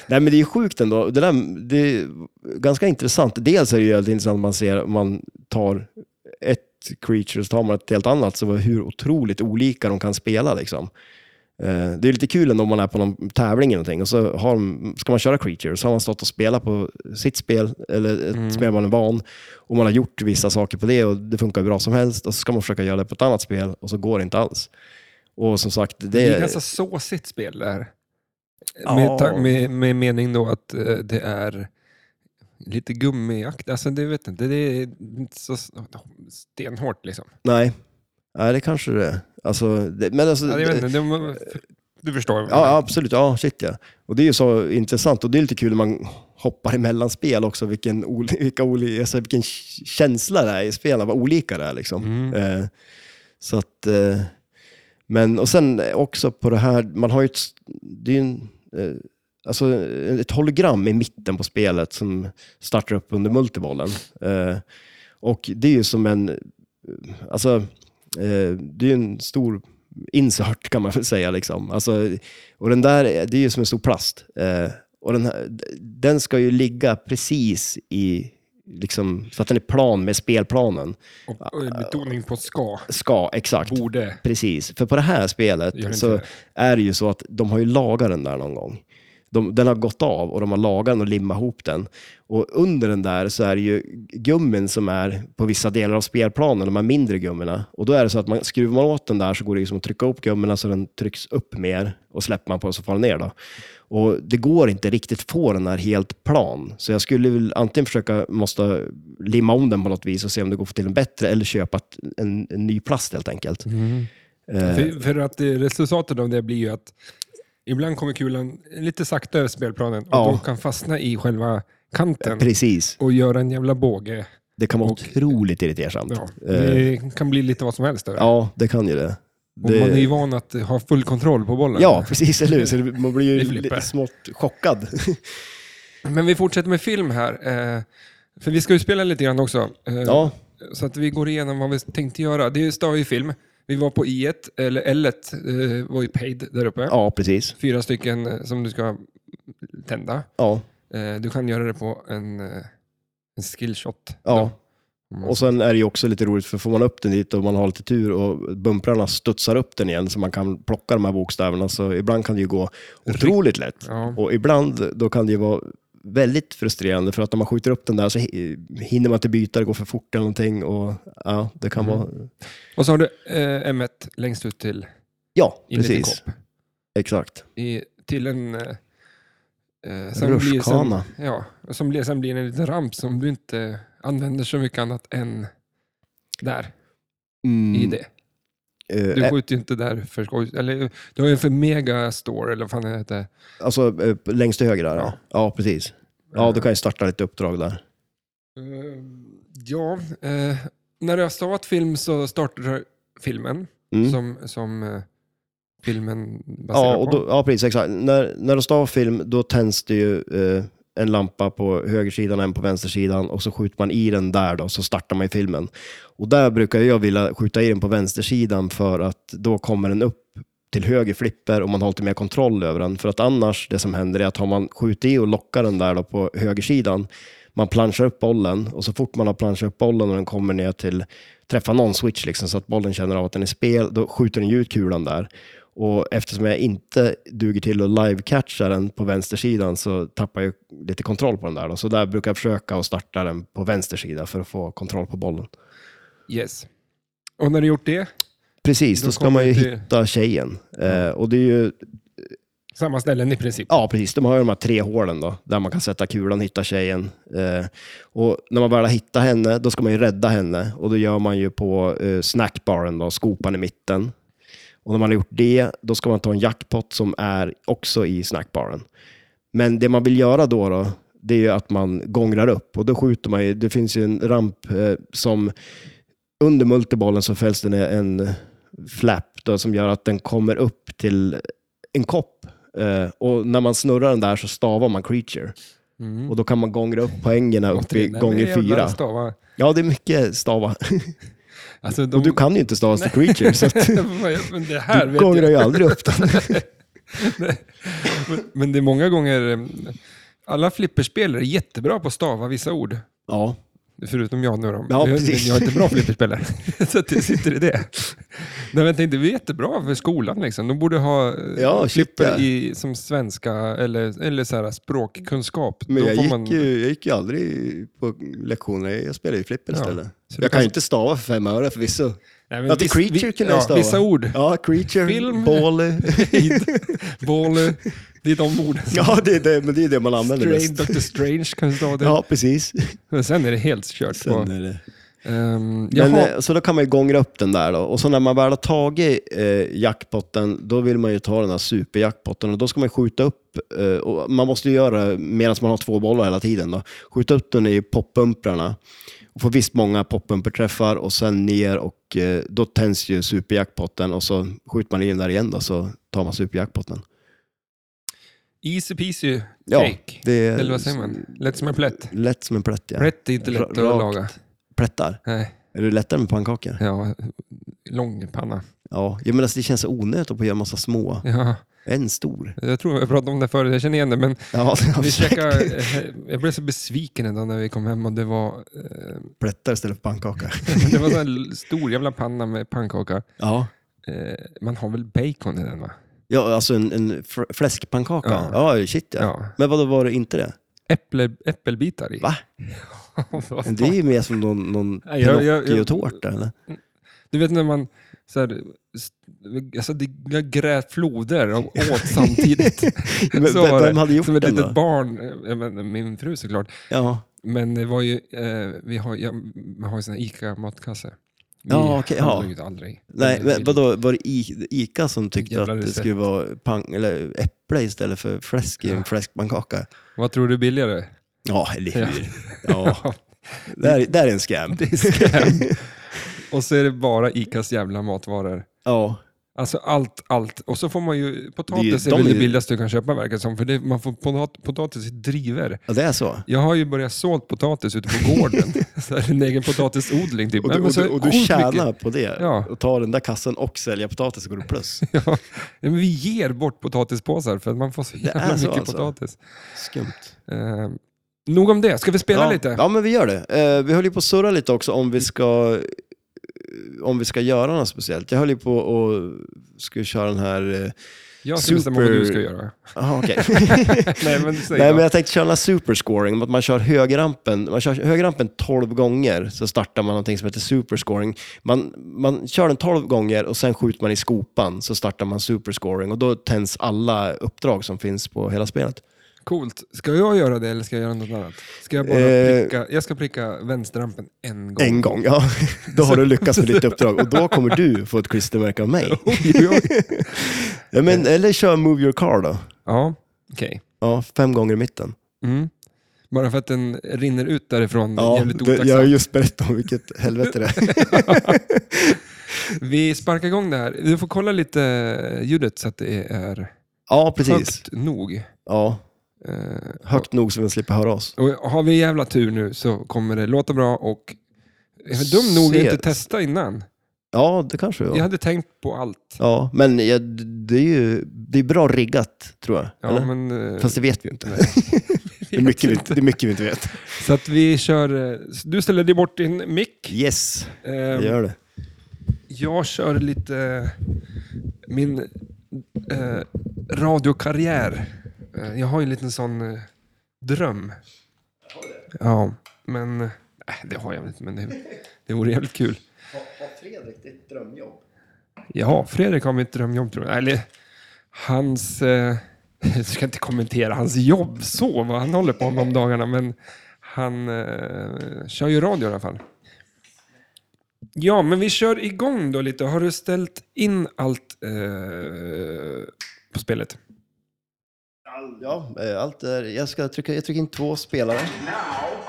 Nej, men det är ju sjukt ändå. Det, där, det är ganska intressant. Dels är det ju väldigt intressant att man ser, om man tar ett creature så tar man ett helt annat, så hur otroligt olika de kan spela. Liksom. Eh, Det är lite kul ändå om man är på någon tävling eller någonting och så har, de- ska man köra creature så har man stått och spelat på sitt spel, eller ett
Mm.
spel man är van, och man har gjort vissa saker på det och det funkar bra som helst och så ska man försöka göra det på ett annat spel och så går det inte alls. Och som sagt, det,
Det är ganska såsigt spel där.
Ja.
Med, ta- med, med mening då att eh, det är lite gummiakt. Alltså det vet jag inte, det är inte så s- oh, stenhårt liksom.
Nej, nej det kanske det är. Alltså, det, men alltså,
Ja, jag vet inte, det, du förstår. vad jag menar.
ja, absolut. Ja, shit ja. Och det är ju så intressant och det är lite kul när man hoppar emellan spel också, vilken, ol- [LAUGHS] vilka oli, alltså, vilken k- känsla det är i spelen, vad olika det är liksom.
Mm.
Eh, så att, eh, men, och sen också på det här, man har ju ett, s- det är ju en, eh, alltså ett hologram i mitten på spelet som startar upp under multibollen. Eh, och det är ju som en, eh, alltså, eh, det är ju en stor insert kan man väl säga. Liksom. Alltså, och den där, det är ju som en stor plast. Eh, och den, här, den ska ju ligga precis i, liksom, så att den är plan med spelplanen.
Och, och betoning på ska,
Ska, exakt.
borde.
Precis, för på det här
Gör inte
spelet så
det.
är det ju så att de har ju lagat den där någon gång. De, den har gått av och de har lagat den och limmat ihop den. Och under den där så är det ju gummin som är på vissa delar av spelplanen, de här mindre gummorna. Och då är det så att man, skruvar man åt den där så går det ju som att trycka upp gummorna så den trycks upp mer och släpper man på den så faller den ner då. Och det går inte riktigt få den här helt plan. Så jag skulle väl antingen försöka, måste limma om den på något vis och se om det går att få till en bättre eller köpa ett, en, en ny plast helt enkelt.
Mm.
Eh,
För, för att eh, resultatet av det blir ju att ibland kommer kulan lite sakta över spelplanen och
Ja.
då kan fastna i själva kanten
Precis,
och göra en jävla båge.
det kan vara
Och-
otroligt irriterande.
Ja.
Eh,
Det kan bli lite vad som helst där.
ja, det kan ju det.
Och
det...
man är ju van att ha full kontroll på bollen.
Ja, precis, eller hur? Så det- man blir ju
Det flippar.
lite smått chockad.
Men vi fortsätter med film här. eh, För vi ska ju spela lite grann också. eh,
Ja,
Så att vi går igenom vad vi tänkte göra. Det står ju film. Vi var på I1, eller L1 eh, var ju paid där uppe.
ja precis.
Fyra stycken eh, som du ska tända.
Ja,
Eh, Du kan göra det på en, eh, en skillshot.
ja.
Om man-
Och sen är det ju också lite roligt, för får man upp den dit och man har lite tur och bumprarna studsar upp den igen så man kan plocka de här bokstäverna, så ibland kan det ju gå otroligt lätt.
Ja.
Och ibland då kan det ju vara väldigt frustrerande för att när man skjuter upp den där så hi- hinner man inte byta, det går för fort eller någonting. Och, ja, det kan
Mm.
vara...
Och så har du eh, M1 längst ut till
Ja,
i en liten
precis.
kopp.
Exakt.
I, till en... eh, Eh, sen blir det sen,
Rutschkana.
Ja, och som blir, sen blir det en liten ramp som du inte använder så mycket annat än där,
Mm,
i det.
eh,
Du
eh,
skjuter ju inte där för skoj. Eller du har ju en för mega store, eller vad fan det heter.
Alltså eh, längst till höger där, ja.
Ja.
Ja, precis. Ja, då kan jag starta lite uppdrag där.
Eh, ja, eh, när du har stavat film så startar du filmen
Mm.
som, som eh, filmen baserar
Ja, och
på.
då, ja, precis. Exakt. När, när du stavar film, då tänds det ju eh, en lampa på högersidan och en på vänstersidan och så skjuter man i den där då, så startar man ju filmen. Och där brukar jag vilja skjuta i den på vänstersidan för att då kommer den upp till höger flipper och man har lite mer kontroll över den. För att annars, det som händer är att har man skjutit i och lockar den där då på högersidan, man planchar upp bollen och så fort man har planschat upp bollen och den kommer ner till, träffar någon switch liksom, så att bollen känner av att den är spel, då skjuter den ju ut kulan där. Och eftersom jag inte duger till att live-catcha den på vänstersidan så tappar jag lite kontroll på den där. Då. Så där brukar jag försöka att starta den på vänster sida för att få kontroll på bollen.
Yes. Och när du gjort det,
Precis,
Då
då, ska
kommer
man ju
det till-
hitta tjejen. Eh, och det är ju,
samma ställen i princip.
ja precis, de har ju de här tre hålen då, där man kan sätta kulan, hitta tjejen. Eh, och när man väl har hittat henne, då ska man ju rädda henne. Och då gör man ju på eh, snackbaren då, skopan i mitten. Och när man har gjort det, då ska man ta en jackpot som är också i snackbaren. Men det man vill göra då, då det är ju att man gångrar upp och då skjuter man ju, det finns ju en ramp eh, som under multibollen så fälls det ner en flap då, som gör att den kommer upp till en kopp. Eh, och när man snurrar den där så stavar man creature.
Mm.
Och då kan man gångra upp poängerna upp i
Återigen, nej,
gånger
men jävlar,
fyra.
stava.
Ja, det är
[LAUGHS]
mycket stava.
Alltså, de...
Och du kan ju inte stava till creature, så att
men det [LAUGHS] här
du
vet jag.
gångrar ju aldrig
[LAUGHS]
upp den.
Men- Men det är många gånger... eh, Alla flipperspelare är jättebra på att stava vissa ord.
Ja,
Förutom jag nu då.
Ja,
jag,
precis.
jag är inte bra flipperspelare. [LAUGHS] så att det sitter i det. Nej, men jag tänkte, det är jättebra för skolan. Liksom. De borde ha eh,
Ja, shit,
flipper
ja.
i, som svenska eller, eller så här, språkkunskap.
men
Då
jag
får
gick,
man-
ju, jag gick ju aldrig på lektioner. Jag spelade ju flipper
Ja.
istället.
Så du
Jag kan
kan-
ju inte stava för fem öre förvisso.
Nej, men
Ja, till
viss-
creature
vi-
kunde jag
ja,
stava.
Vissa ord.
Ja, creature,
Film.
ball.
Boll, det är de orden. som-
Ja, det är det, men det är det man använder
Strange,
mest.
Dr. Strange kan du stava det.
Ja, precis.
Men sen är det helt kört. På.
Sen är det.
Ehm,
Men,
jaha.
eh, så då kan man ju gångra upp den där då. Och så när man väl har tagit eh, jackpotten, då vill man ju ta den här superjackpotten och då ska man ju skjuta upp, eh, och man måste ju göra det medan man har två bollar hela tiden då. Skjuta upp den i poppumprarna och få visst många poppumperträffar och sen ner och eh, då tänds ju superjackpotten och så skjuter man in där igen då så tar man superjackpotten.
Easy peasy cake.
Ja, Det är
Eller vad säger man? Lätt som en plätt.
lätt som en plätt ja.
Plätt är inte lätt att
Ra- rakt.
laga.
Plättar.
Nej,
Är det lättare med pannkakor?
ja. Lång panna.
Ja, jag menar det känns så onödigt att göra massa små.
Ja,
En stor.
jag tror jag pratade om det förut, jag känner igen det. Men
Ja, [LAUGHS]
vi
säkert.
käkade, eh, jag blev så besviken en dag när vi kom hem och det var, eh, [LAUGHS]
plättar istället för pannkaka.
det var en sån stor jävla panna med pannkaka.
Ja,
Eh, man har väl bacon i den va?
ja alltså en, en fr- fläskpannkaka. Ja, shit ja.
Ja.
Men vadå, var det inte det?
Äpple, äppelbitar i.
Va?
[LAUGHS] Vad
Men det är ju mer som någon, någon
Nej, jag- jag- jag-
Pinocchio-tårta eller?
Du vet när man så här, st- alltså, det- jag grät floder och åt samtidigt.
[LAUGHS] Men
Så
vem,
var det.
vem hade gjort
Som ett
den
litet
då?
barn. Eh, men- Min fru såklart.
Ja,
Men det var ju, eh, vi har, jag, man har ju sån här ICA-matkasse. Vi
Ja, okej, ja.
handlar ju aldrig.
nej, men
Vi-
vadå, var det I- Ica som tyckte
Jävla
att det
recept.
skulle vara pang, eller äpple istället för fläsk i en fläskpannkaka?
Vad tror du är billigare?
Ja, eller
Ja.
hur? Ja. Där, där är en scam.
[LAUGHS] Det är scam. [LAUGHS] och så är det bara ICAs jävla matvaror.
[LAUGHS] Ja,
Alltså allt, allt. Och så får man ju, potatis
de
är väl
är
det
ju-
billigaste du kan köpa verkar det som. För det, man får potat, potatis i driver.
ja, det är så.
Jag har ju börjat sålt potatis ute på
[LAUGHS]
gården. så här, en egen potatisodling typ.
Och
Nej,
du,
men
och
så
du, och du
sjukt mycket.
tjänar på det
Ja.
och tar den där kassen och säljer potatis så går du plus.
Ja, Nej, men vi ger bort potatispåsar för att man får så jävla
är så
mycket
alltså.
potatis.
Skumt.
Eh, nog om det, ska vi spela
ja.
lite?
Ja, men vi gör det. Eh, vi höll ju på att surra lite också om vi ska eh, om vi ska göra något speciellt. Jag höll ju på och skulle köra den här... eh,
Jag ska bestämma vad
Super-
du ska
[LAUGHS]
göra. [LAUGHS]
Aha, okej.
Nej, men säg
Nej,
då.
men jag tänkte köra den här superscoring, att man kör högerrampen, man kör högerrampen 12 gånger, så startar man någonting som heter superscoring. Man, man kör den 12 gånger och sen skjuter man i skopan, så startar man superscoring och då tänds alla uppdrag som finns på hela spelet.
Coolt. Ska jag göra det eller ska jag göra något annat? Ska jag bara
Eh.
pricka, jag ska pricka vänsterrampen en gång.
En gång, ja. Då har du lyckats med ditt uppdrag och då kommer du få ett klistermärke av mig.
[LAUGHS] Oj,
[LAUGHS]
oj.
Ja, men, eller kör Move Your Car då.
ja, okej.
Ja, fem gånger i mitten.
Mm. Bara för att den rinner ut därifrån
Ja,
jävligt
det, jag har
otacksamt.
just berättat om vilket helvete det [LAUGHS] är.
Vi sparkar igång det här. Du får kolla lite eh, ljudet så att det är
Ja, precis.
högt nog.
Ja,
Eh,
högt nog så vi slipper höra oss.
Och har vi jävla tur nu så kommer det låta bra och är vi dum nog att
Ser-
inte testa innan.
Ja, det kanske det var.
Jag hade tänkt på allt.
Ja, men jag, det är ju det är bra riggat, tror jag.
Ja,
eller?
men, eh,
Fast det vet vi ju [LAUGHS] inte.
nej,
Det är, mycket vi,
vet
inte. det är mycket vi inte vet.
Så att vi kör... eh, Du ställer dig bort din mick.
Yes,
Ehm,
det gör det.
Jag kör lite eh, min eh, radiokarriär. Eh, jag har ju en liten sån eh, dröm. Ja, men... Äh, det har jag väl inte, men det, det vore jävligt kul.
Har Fredrik ditt drömjobb?
Ja, Fredrik har mitt drömjobb tror jag. Eller hans... Eh, [LAUGHS] jag ska inte kommentera hans jobb så, vad han håller på med om dagarna, men han eh, kör ju radio i alla fall. Ja, men vi kör igång då lite. Har du ställt in allt eh, på spelet?
Ja, eh, allt är, jag ska trycka, jag trycker in två spelare.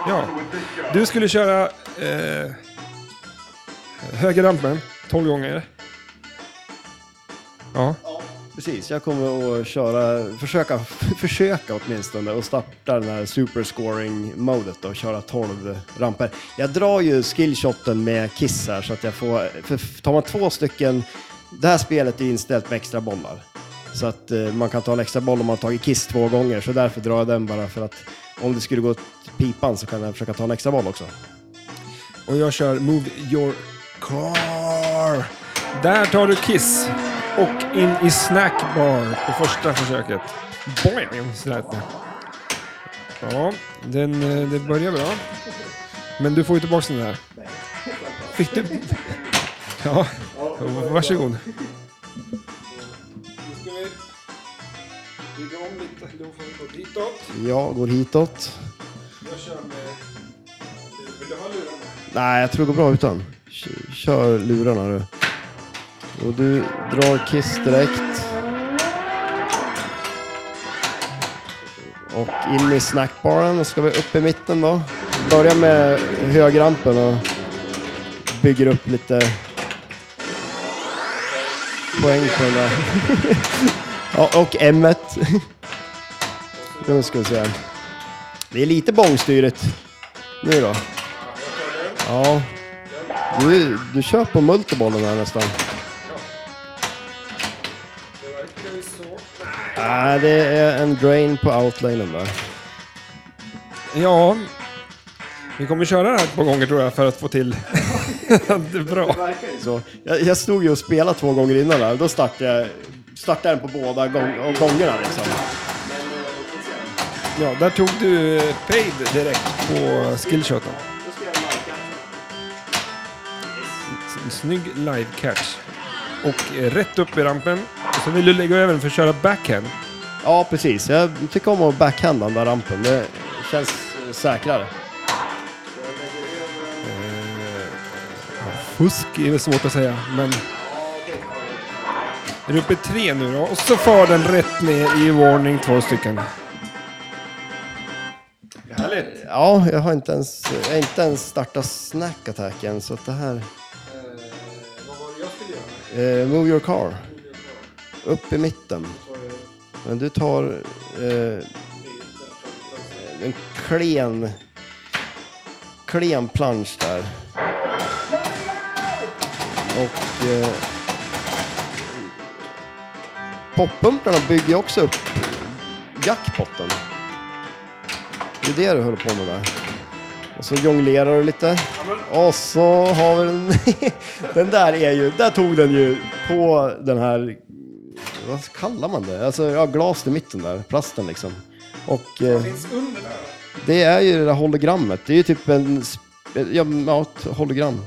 Ja. Du skulle köra eh, höger rampen, 12 gånger. Ja.
Precis, jag kommer att köra, försöka, [LAUGHS] försöka åtminstone och starta den här superscoring-modet och köra 12 ramper. Jag drar ju skillshoten med Kiss här så att jag får, för tar man två stycken, det här spelet är inställt med extra bollar. Så att eh, man kan ta en extra boll om man har tagit Kiss två gånger, så därför drar jag den bara för att om det skulle gå åt pipan så kan jag försöka ta en extra boll också.
Och jag kör Move Your Car. Där tar du Kiss och in i Snackbar på första försöket. Boing, så lät det. Ja, den, eh, det börjar bra. Men du får ju tillbaka den där. Fick du? Ja, varsågod. Nu ska vi bygga om lite. Då får vi gå ditåt.
Jag går hitåt.
Jag kör med... Vill du ha lurarna?
Nej, jag tror det går bra utan. Kör, kör lurarna du. Och du drar Kiss direkt. Och in i snackbaren och ska vi upp i mitten då. Börja med högrampen och bygger upp lite poäng på den där. [LAUGHS] ja, och m [LAUGHS] Nu ska vi se. här. Det är lite bångstyrigt. Nu då. Ja. Du, du kör på multibollen här nästan.
Det verkar ju så.
Nej, det är en drain på outlinen där.
Ja, vi kommer köra det här ett par gånger tror jag för att få till [LAUGHS] det är bra.
Så, jag, jag stod ju och spelade två gånger innan där. Då startade jag startade den på båda gång, och gångerna liksom.
Ja, där tog du eh, paid direkt på skillshoten. S- Snygg live catch. Och eh, rätt upp i rampen. Och så vill du lägga över den för att köra backhand.
Ja, precis. Jag tycker om att backhanda den där rampen. Det känns eh, säkrare.
Fusk är väl svårt att säga, men... Är du uppe i tre nu då? Och så far den rätt ner i warning två stycken. Härligt!
Ja, jag har inte ens, jag har inte ens startat snack attack än, så att det här...
Vad var det jag skulle göra?
Eh, move your car. Upp i mitten. Men du tar eh, en klen, klen plansch där. Och eh, poppumparna bygger ju också upp jackpotten. Det är det du håller på med där. Och så jonglerar du lite. Och så har vi den. [LAUGHS] den där är ju, där tog den ju på den här, vad kallar man det? Alltså, ja, glas i mitten där, plasten liksom. Och eh,
Finns under där.
det är ju det där hologrammet. Det är ju typ en, sp- ja, ja ett hologram.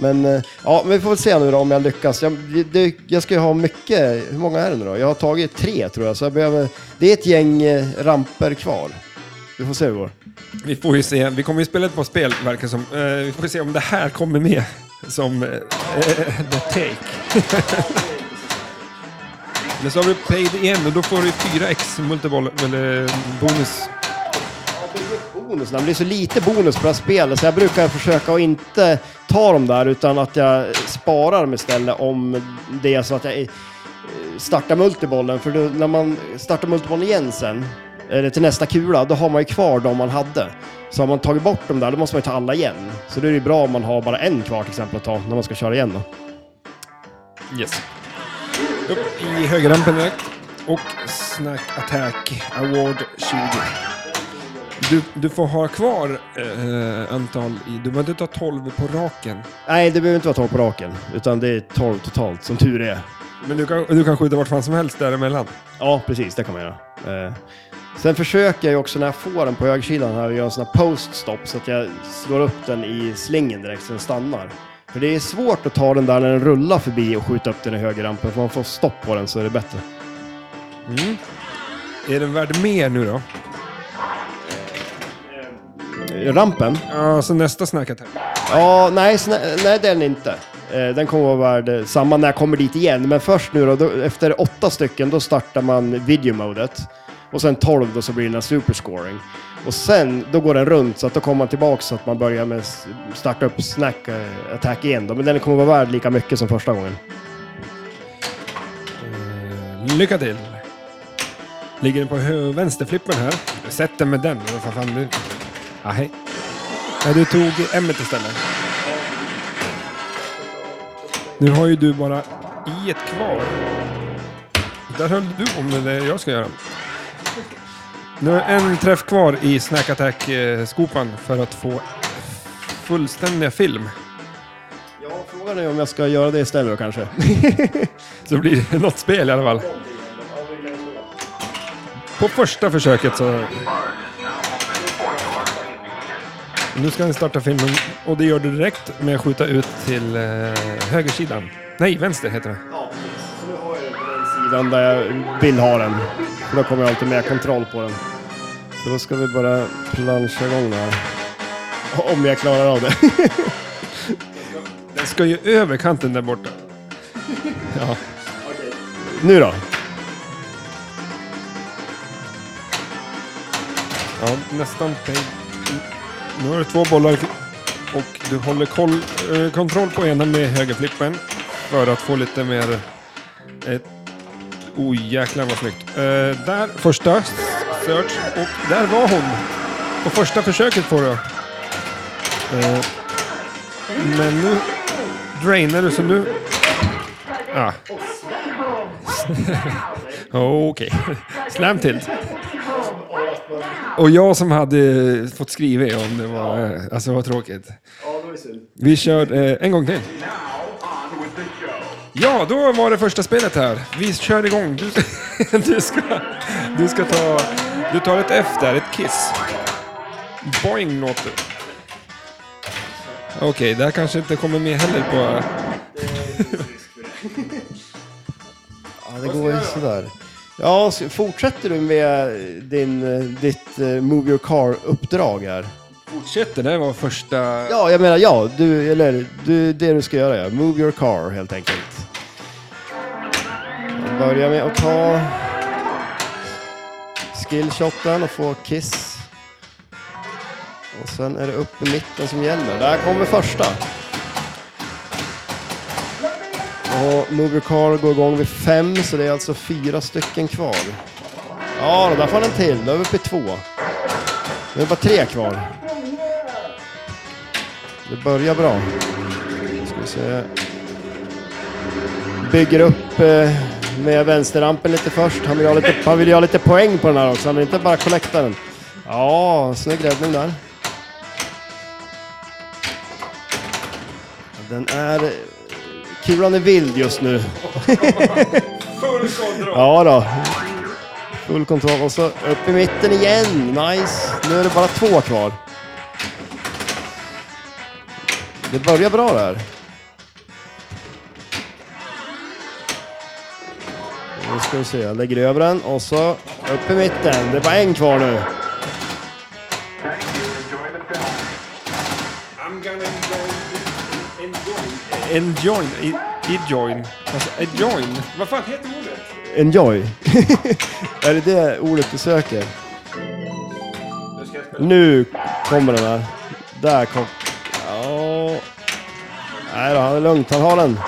Men eh, ja, men vi får väl se nu då om jag lyckas. Jag, det, jag ska ju ha mycket, hur många är det nu då? Jag har tagit tre tror jag, så jag behöver, det är ett gäng eh, ramper kvar. Vi får se hur det går.
Vi får ju se. Vi kommer ju spela ett par spel, verkar som. Eh, vi får se om det här kommer med som eh, eh, the take. [LAUGHS] Men så har du paid igen och då får du 4x multiboll, eller eh, bonus.
bonus. Det blir så lite bonus på det här spelet så jag brukar försöka att inte ta dem där utan att jag sparar dem istället om det är så att jag eh, startar multibollen. För då, när man startar multibollen igen sen eller till nästa kula, då har man ju kvar de man hade. Så har man tagit bort dem där, då måste man ju ta alla igen. Så då är det ju bra om man har bara en kvar till exempel att ta när man ska köra igen. Då.
Yes. Upp i högerrampen direkt. Och Snack Attack Award 20. Du, du får ha kvar eh, antal. I, du behöver inte ta 12 på raken.
Nej, det behöver inte vara 12 på raken, utan det är 12 totalt, som tur är.
Men du kan, du kan skjuta vart fan som helst däremellan.
Ja, precis, det kan man göra. Eh. Sen försöker jag ju också när jag får den på högersidan här att göra en sån här post-stop så att jag slår upp den i slingen direkt så den stannar. För det är svårt att ta den där när den rullar förbi och skjuta upp den i högerrampen. För man får stopp på den så är det bättre.
Mm. Är den värd mer nu då?
Eh, Rampen?
Ja, så nästa Snack Attack.
Ja, nej, snä- nej den inte. Eh, Den kommer vara värd eh, samma när jag kommer dit igen. Men först nu då, då efter åtta stycken, då startar man videomodet. Och sen 12 då så blir det den här superscoring. Och sen, då går den runt så att då kommer man tillbaka så att man börjar med s- starta upp snack eh, attack igen då. Men den kommer vara värd lika mycket som första gången.
Eh, Lycka till! Ligger den på hö- vänsterflippen här? Sätt den med den. men Vad fan du... Ah, hej. Nej, du tog M istället. Nu har ju du bara i ett kvar. Där höll du om med det jag ska göra. Nu är en träff kvar i Snack Attack-skopan för att få fullständiga film.
Ja, frågan är om jag ska göra det istället då kanske.
Så blir det något spel i alla fall. På första försöket så... Nu ska vi starta filmen och det gör du direkt med att skjuta ut till eh, högersidan. Nej, vänster heter det.
Ja, precis. Så nu har jag den på den sidan där jag vill ha den. För då kommer jag alltid mer kontroll på den. Så då ska vi bara plancha igång det här. Om jag klarar av det. [LAUGHS]
Den ska ju över kanten där borta. Ja.
nu då?
Ja, nästan. peng. Nu har du två bollar i- och du håller koll, eh, kontroll på ena med högerflippen för att få lite mer... Eh, oh, jäklar vad snyggt. Eh, där, första search. Och där var hon. På första försöket får du. Eh, men nu drainar du så nu... Ah. [LAUGHS] Okej. Slam till. Och jag som hade fått skriva om det var... eh, Alltså vad tråkigt. Vi kör eh, en gång till. Ja, då var det första spelet här. Vi kör igång. Du, du, ska, [LAUGHS] du ska ta... Du tar ett F där, ett kiss. Boing låter det. Okej, det här kanske inte kommer med heller på...
Ja, det går ju sådär. Ja, så fortsätter du med din, eh, ditt eh, Move Your Car-uppdrag här?
Fortsätt, det där var första...
Ja, jag menar ja. Du, eller du, det du ska göra ja. Move your car helt enkelt. Börja med att ta skillshoten och få kiss. Och sen är det upp i mitten som gäller. Där kommer första. Och Move your car går igång vid fem, så det är alltså fyra stycken kvar. Ja, då, där får den till. Då är vi uppe i två. Nu är det bara tre kvar. Det börjar bra. Ska vi se. Bygger upp eh, med vänsterrampen lite först. Han vill, ha lite, han vill ju ha lite poäng på den här också. Han vill inte bara connecta den. Ja, snygg räddning där. Den är... Kulan är vild just nu.
Full kontroll!
Ja då. Full kontroll och så upp i mitten igen. Nice. Nu är det bara två kvar. Det börjar bra där. Nu ska vi se, jag lägger över den och så upp i mitten. Det är bara en kvar nu.
I'm gonna enjoy... Enjoy? Enjoy? Alltså, enjoy? Vad fan heter ordet?
Enjoy. [LAUGHS] är det det ordet du söker? Nu kommer den här. Där kom... Ja... Nej då, han är lugnt. Han har den.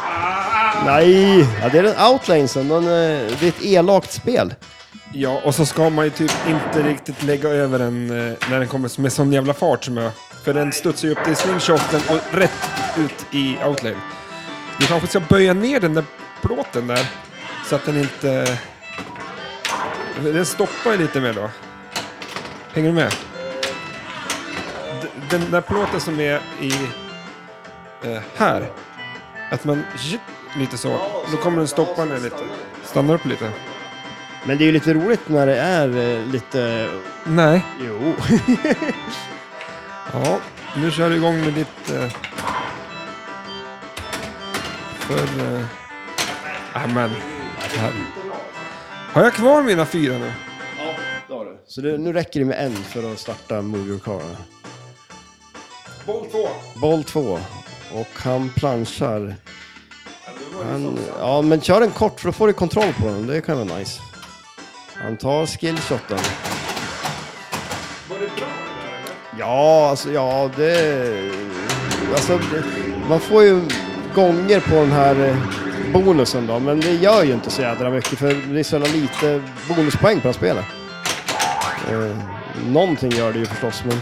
Nej! Ja, det är den outlanesen. Den, eh, det är ett elakt spel.
Ja, och så ska man ju typ inte riktigt lägga över den eh, när den kommer med sån jävla fart som jag. För den studsar ju upp till slingshoten och rätt ut i outlane. Vi kanske ska böja ner den där plåten där. Så att den inte... Den stoppar ju lite mer då. Hänger du med? D- Den där plåten som är i... Eh, här. Att man... zzt, Lite så. Då kommer den stoppa ner lite. Stannar upp lite.
Men det är ju lite roligt när det är eh, lite...
Nej.
Jo.
Ja, nu kör du igång med ditt... Eh, för... Eh, ah, men. Här. Har jag kvar mina fyra nu?
Ja, det har du. Så det, nu räcker det med en för att starta Move Your Car.
Boll två.
Boll två. Och han planchar. Han, ja, men kör den kort för då får du kontroll på den. Det kan vara nice. Han tar skillshoten.
Var det bra?
Ja, alltså ja, det... Alltså, det, man får ju gånger på den här eh, bonusen då, men det gör ju inte så jädra mycket för det är så jävla lite bonuspoäng på det här spelet. Eh, någonting gör det ju förstås, men...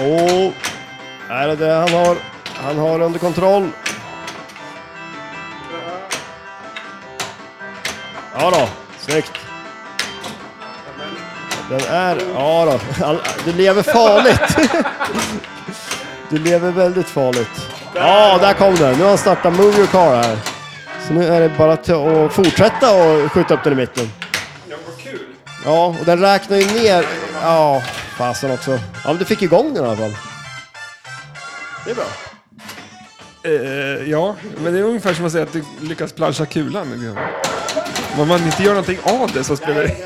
Åh! Oh, är det det han har? Han har under kontroll. Ja då, snyggt. Den är... Ja då. All, du lever farligt. Du lever väldigt farligt. Ja, där kom den. Nu har han startat Move Your Car här. Så nu är det bara till att fortsätta och skjuta upp den i mitten.
Ja, vad kul.
Ja, och den räknar ju ner. Ja, fasen också. Ja, men du fick igång den i alla fall. Det är bra.
Eh, ja, men det är ungefär som att säga att du lyckas plancha kulan. Liksom. Om man inte gör någonting av det så spelar det...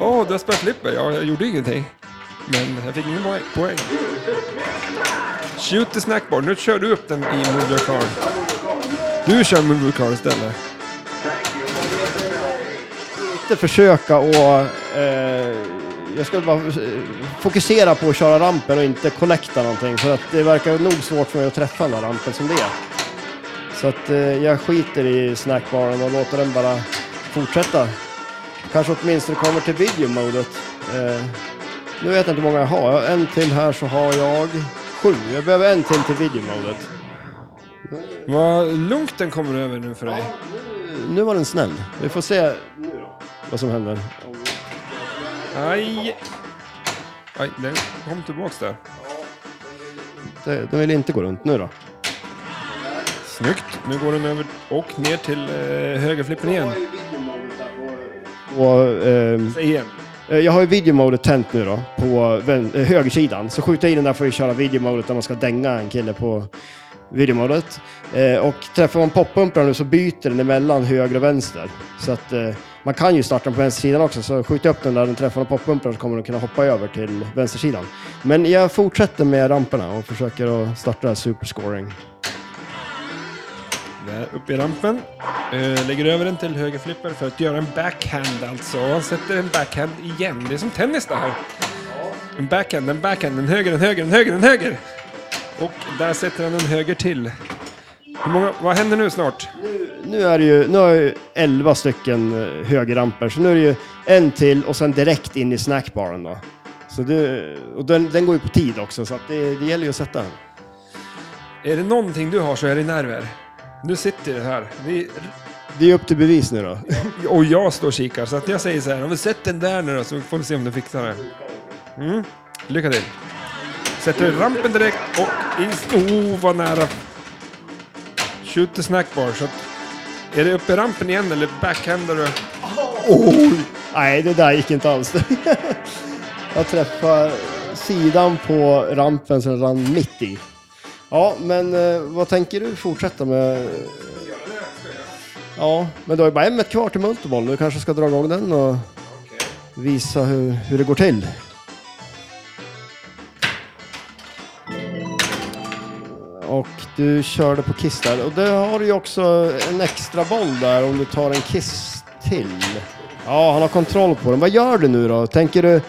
Åh, du har spöat flipper. Ja, jag gjorde ingenting. Men jag fick ingen poäng. poäng. Shoot the snackbar. Nu kör du upp den i Move Your Car. Du kör Move Your Car istället.
Inte försöka och... Eh, jag ska bara eh, fokusera på att köra rampen och inte connecta någonting. För att det verkar nog svårt för mig att träffa den här rampen som det är. Så att eh, jag skiter i snackbaren och låter den bara fortsätta. Kanske åtminstone kommer till videomodet. Eh, nu vet jag inte hur många jag har. Jag har En till här så har jag sju. Jag behöver en till till videomodet.
Vad lugnt den kommer över nu för dig.
Nu var den snäll. Vi får se vad som händer.
Aj! Aj, den kom tillbaks där.
Det- Den vill inte gå runt nu då.
Snyggt. Nu går den över och ner till eh, högerflippen igen.
Och, ehm,
Säg igen.
Eh, Jag har ju videomodet tänt nu då, på vän- eh, högersidan. Så skjuter jag i den där för att köra videomodet när man ska dänga en kille på videomodet. Eh, och träffar man poppumparna nu så byter den emellan höger och vänster. Så att eh, man kan ju starta den på vänstersidan också. Så skjuter jag upp den där den träffar poppumparna så kommer den kunna hoppa över till vänstersidan. Men jag fortsätter med ramperna och försöker att starta det här superscoring.
Där uppe i rampen. Eh, lägger över den till högerflipper för att göra en backhand alltså. Han sätter en backhand igen. Det är som tennis det här. En backhand, en backhand, en höger, en höger, en höger, en höger. Och där sätter han en höger till. Hur många, vad händer nu snart?
Nu, är det ju, nu har jag ju 11 stycken eh, högerramper, så nu är det ju en till och sen direkt in i snackbaren. Då. Så det, och den, den går ju på tid också, så att det, det gäller ju att sätta den.
Är det någonting du har så är det nerver. Du sitter det här. Vi,
Det är upp till bevis nu då.
och jag står och kikar. Så att jag säger så här, om vi sätter den där nu då så får vi se om du fixar det. Mm. Lycka till. Sätter du rampen direkt och in... Oh, vad nära. Shoot the snackbar. Så att, är det uppe i rampen igen eller backhandar du?
Nej, det där gick inte alls. [LAUGHS] jag träffade sidan på rampen som rann mitt i. Ja, men eh, vad tänker du fortsätta med? Ja, men du har ju bara ämnet kvar till multiboll. Du kanske ska dra igång den och visa hur, hur det går till. Och du körde på kiss där. Och det har du ju också en extra boll där om du tar en kiss till. Ja, han har kontroll på den. Vad gör du nu då? Tänker du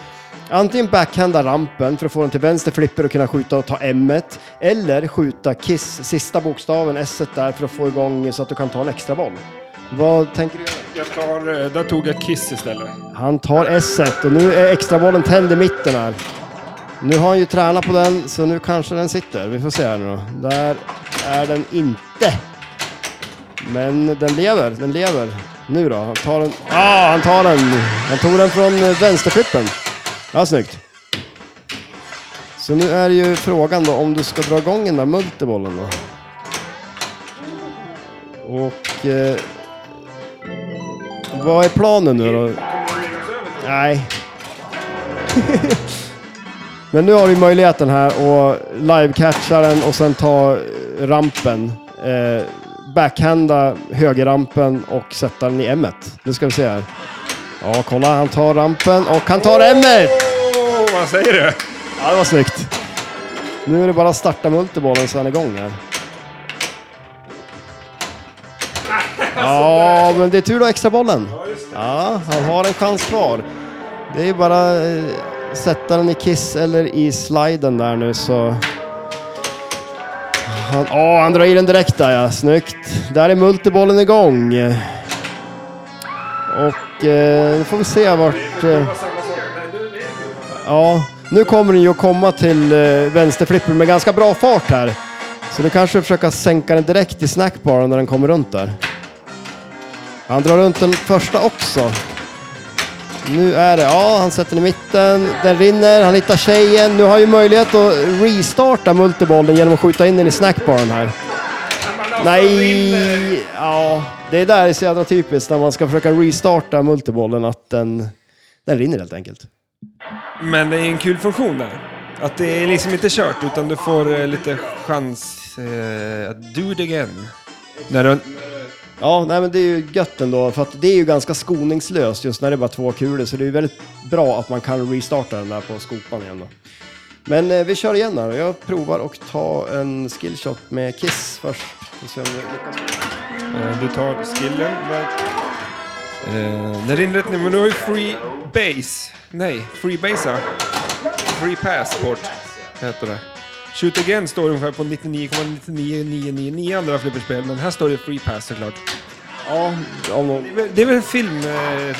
antingen backhanda rampen för att få den till vänster flipper och kunna skjuta och ta m Eller skjuta kiss, sista bokstaven, s där för att få igång så att du kan ta en extra boll. Vad tänker du göra?
Jag tar, eh, där tog jag Kiss istället.
Han tar s och nu är extrabollen tänd i mitten här. Nu har han ju tränat på den, så nu kanske den sitter. Vi får se här nu då. Där är den inte. Men den lever, den lever. Nu då, han tar den. Ah, han tar den! Han tog den från eh, vänsterflippen. Ja, snyggt. Så nu är ju frågan då om du ska dra igång den där multibollen då. Och... Eh, vad är planen nu då? Nej. [LAUGHS] Men nu har vi möjligheten här att live-catcha den och sen ta eh, rampen. Eh, backhanda högerrampen och sätta den i m Nu ska vi se här. Ja, kolla. Han tar rampen och han tar m
Åh, vad säger du?
Ja, det var snyggt. Nu är det bara att starta multibollen så han är igång här. Ja, men det är tur du har extra bollen. Ja, han har en chans kvar. Det är ju bara eh, sätta den i kiss eller i sliden där nu så... Han, åh, han drar i den direkt där ja, snyggt. Där är multibollen igång. Och eh, nu får vi se vart... Eh, Ja, nu kommer den ju att komma till eh, vänsterflippen med ganska bra fart här. Så du kanske försöka sänka den direkt i snackbaren när den kommer runt där. Han drar runt den första också. Nu är det, ja han sätter den i mitten, den rinner, han hittar tjejen. Nu har ju möjlighet att restarta multibollen genom att skjuta in den i snackbaren här. Nej, ja det där är så jävla typiskt när man ska försöka restarta multibollen att den, den rinner helt enkelt.
Men det är en kul funktion där. Att det är liksom inte kört, utan du får eh, lite chans eh, att do it again. När du,
Ja, nej, men det är ju gött ändå, för att det är ju ganska skoningslöst just när det är bara två kulor, så det är ju väldigt bra att man kan restarta den där på skopan igen då. Men eh, vi kör igen här jag provar och ta en skillshot med Kiss först. Vi ser om det lyckas.
eh, du tar skillen. Där. Eh, det rinner rätt nu, men du har ju free base. Nej, free base ja. Free pass bort, heter det. Shoot again står ungefär på 99,99999 andra flipperspel, men här står det free pass såklart.
Ja, om någon...
Det är väl en film, eh,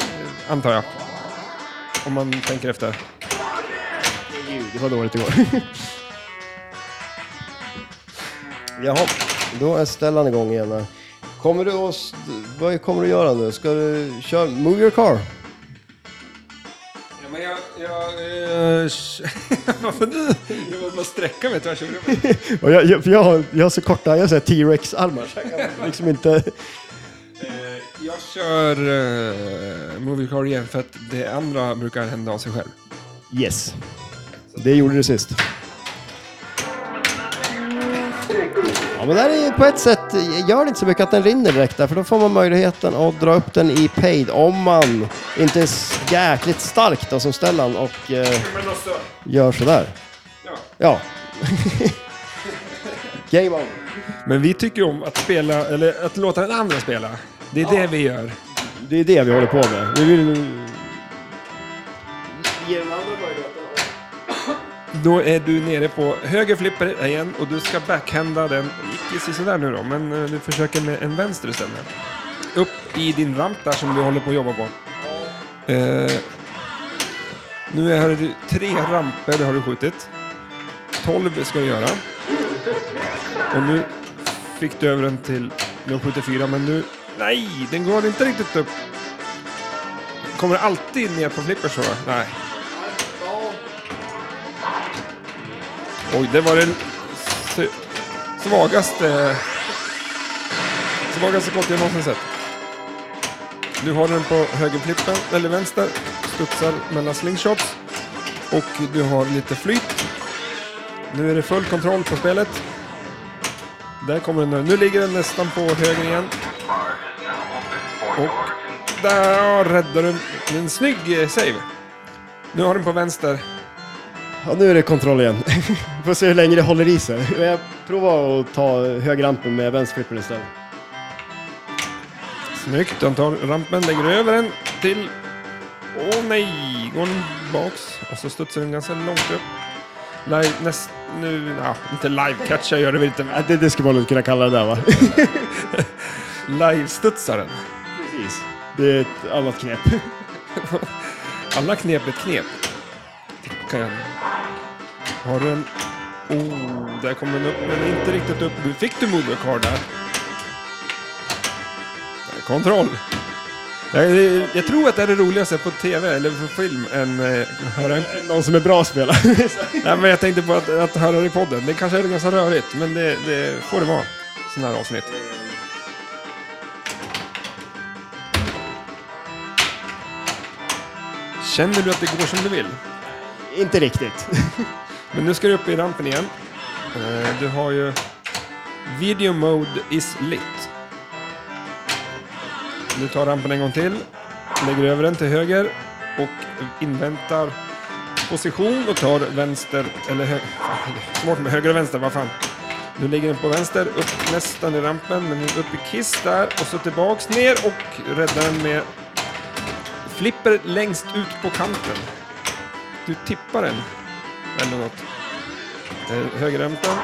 antar jag. Om man tänker efter.
Gud, det var dåligt igår. [LAUGHS] Jaha, då är Stellan igång igen här. Kommer du att... st- Vad kommer du göra nu? Ska du köra... Move your car?
Ja, men jag... jag eh, [LAUGHS] varför nu? Jag vill bara sträcka mig tvärs över rummet.
Och jag, jag, för jag, har, jag har så korta, jag har så här T-Rex-armar så jag kan liksom inte...
Eh, Jag kör uh, Movie Car igen för att det andra brukar hända av sig själv.
Yes. Det gjorde du sist. Ja, men där är ju på ett sätt, gör det inte så mycket att den rinner direkt där, för då får man möjligheten att dra upp den i paid om man inte är s- jäkligt stark då som Stellan och eh,
alltså,
gör sådär. Ja. [LAUGHS] Game on.
Men vi tycker om att spela, eller att låta den andra spela. Det är det vi gör.
Det är det vi håller på med. Vi vill... Ge den andra möjligheten.
Då är du nere på höger flipper igen och du ska backhanda den, icke sådär nu då, men eh, du försöker med en vänster istället. Upp i din ramp där som du håller på att jobba på. Eh, nu har du tre ramper det har du skjutit. 12 ska du göra. Och nu fick du över den till 0,74 men nu... Nej, den går inte riktigt upp. Kommer det alltid ner på flippers så? Nej. Oj, det var den s- svagaste... Svagaste skott jag någonsin sett. Du har den på högerflippen, eller vänster. Studsar mellan slingshots. Och du har lite flyt. Nu är det full kontroll på spelet. Där kommer den nu. Nu ligger den nästan på höger igen. Och där räddar du en snygg eh, save. Nu har den på vänster.
Ja, nu är det kontroll igen. [LAUGHS] Får se hur länge det håller i sig. Men Jag provar att ta högerrampen med vänsterflippen istället.
Snyggt, han tar rampen, lägger över den till... Åh nej, går den baks och så studsar den ganska långt upp. Live, näst, nu, ja, inte live-catcha gör det väl inte, men
det, det skulle man nog kunna kalla det där va?
live-studsar den.
Precis. Det är ett annat knep.
Alla knep är ett knep. Kan jag. Har du en... Oh, där kom den upp, men inte riktigt upp. Du fick du Moodle-card där? Där, Kontroll! Jag, jag tror att det är det roligaste på tv eller på film än eh, höra en...
Någon som är bra att spela.
Nej, men jag tänkte på att, att höra det i podden. Det kanske är ganska rörigt, men det, det får det vara. Sådana här avsnitt. Känner du att det går som du vill?
[LAUGHS] Inte riktigt.
Men nu ska du upp i rampen igen. Eh, Du har ju... Video mode is lit. Du tar rampen en gång till. Lägger över den till höger. Och inväntar position och tar vänster... Eller hö- fan, det är Svårt med höger och vänster, vad fan. Nu ligger den på vänster, upp nästan i rampen, men upp i kiss där. Och så tillbaks ner och räddar den med... Flipper längst ut på kanten. Du tippar den eller något. Eh, Högerrempan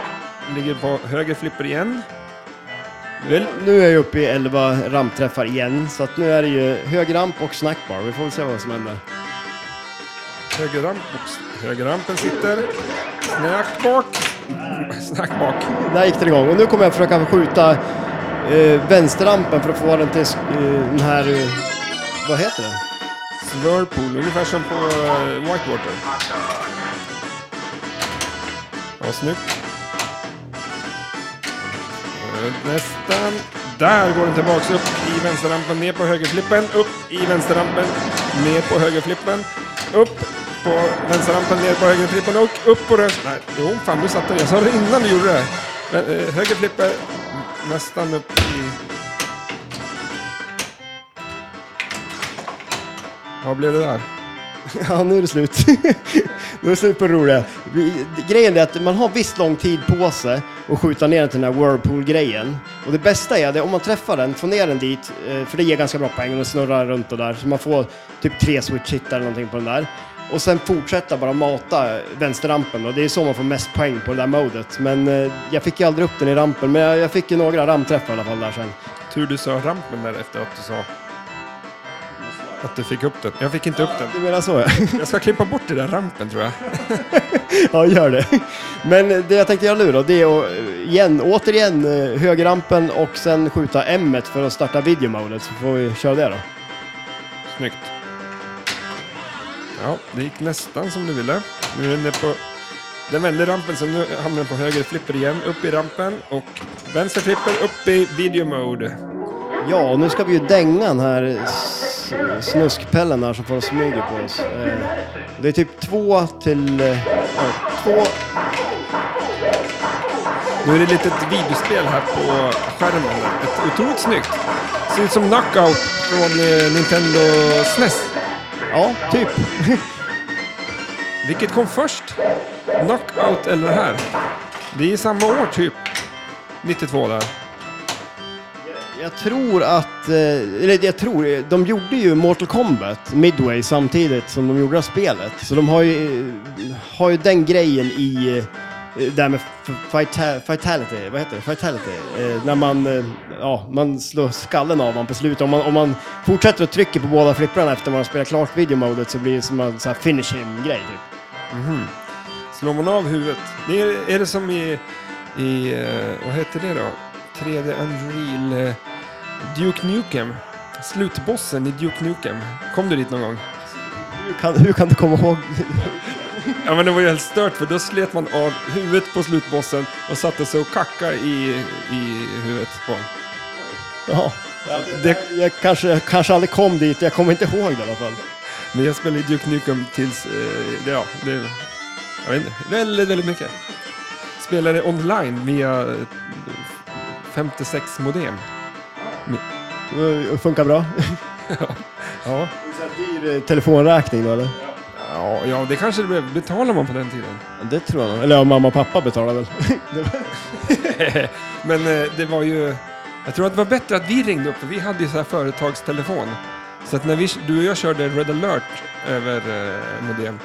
ligger på höger flipper igen. Väl,
Nu är jag uppe i 11 rampträffar igen, så att nu är det ju hög ramp och snackbar. Vi får väl se vad som händer.
högerramp, oops. högerrampen sitter. Snack bak. [LAUGHS] Snack bak.
Där gick den igång och nu kommer jag försöka skjuta eh, vänsterrampen för att få den till eh, den här... Eh, vad heter den?
Swirlpool, ungefär som på eh, Whitewater. Ja, snyggt. Eh, Nästan. Där går den tillbaks upp i vänsterrampen, ner på högerflippen, upp i vänsterrampen, ner på högerflippen, upp på vänsterrampen, ner på högerflippen och upp på röst. Nej, jo, fan du satte det. Jag sa det innan du gjorde det. Men, eh, högerflipper, nästan upp i... Vad blev det där?
Ja, nu är det slut. [LAUGHS] nu är det slut på det roliga. Vi- Grejen är att man har visst lång tid på sig att skjuta ner den till den här Whirlpool-grejen. Och det bästa är det, om man träffar den, får ner den dit, eh, för det ger ganska bra poäng, och den snurrar runt och där, så man får typ tre switch hit eller någonting på den där. Och sen fortsätta bara mata vänsterrampen och det är så man får mest poäng på det där modet. Men eh, jag fick ju aldrig upp den i rampen, men jag, jag fick ju några ramträffar i alla fall där sen.
Tur du sa rampen där efter att du sa att du fick upp den. Jag fick inte upp den.
Du menar så ja.
Jag ska klippa bort den där rampen tror jag.
Ja, gör det. Men det jag tänkte göra nu då, det är att eh, igen, återigen eh, högerrampen och sen skjuta M för att starta videomodet, så får vi köra det då.
Snyggt. Ja, det gick nästan som du ville. Nu är den på... Den vände rampen, så nu hamnar den på höger flipper igen. Upp i rampen och vänster flipper upp i video mode.
Ja, och nu ska vi ju dänga den här s- snuskpellen här som får smyga på oss. Eh, Det är typ två till... eh, ja, Två...
Nu är det ett litet videospel här på skärmen. Ett otroligt snyggt. Ser ut som Knockout från eh, Nintendo E SNES.
Ja, typ.
Vilket kom först? Knockout eller det här? Det är samma år typ. 92 där.
Jag tror att... eh, Eller jag tror... eh, De gjorde ju Mortal Kombat Midway samtidigt som de gjorde det här spelet. Så de har ju, eh, har ju den grejen i... eh, Det här med f- fita- fatality, vad heter det? Fatality. Eh, när man, eh, ja, man slår skallen av honom på slutet. Om man, om man fortsätter att trycka på båda flipprarna efter man har spelat klart videomodet så blir det som en sån här finish him-grej. Typ.
Slår man av huvudet. Det är, är det som i, i... eh, Vad heter det då? 3D Unreal... eh, Duke Nukem. Slutbossen i Duke Nukem. Kom du dit någon gång?
Hur, kan, hur kan du komma ihåg? [LAUGHS]
Ja men det var ju helt stört för då slet man av huvudet på slutbossen och satte sig och kackade i, i huvudet på honom.
Ja. Det, jag kanske, jag kanske aldrig kom dit, jag kommer inte ihåg det i alla fall.
Men jag spelade Duke Nukem tills, eh, det- ja, det, jag vet inte, väldigt, väldigt mycket. Spelade online via eh, 56 modem.
Det Eh, funkar [LAUGHS] bra.
Ja.
Så här Dyr eh, telefonräkning då eller?
ja, ja, det kanske det blev. Betalar man på den tiden?
Det tror jag nog. Eller ja, mamma och pappa betalar [LAUGHS] väl.
Men eh, det var ju, jag tror att det var bättre att vi ringde upp, för vi hade ju så här företagstelefon. Så att när vi, du och jag körde Red alert över eh, modem.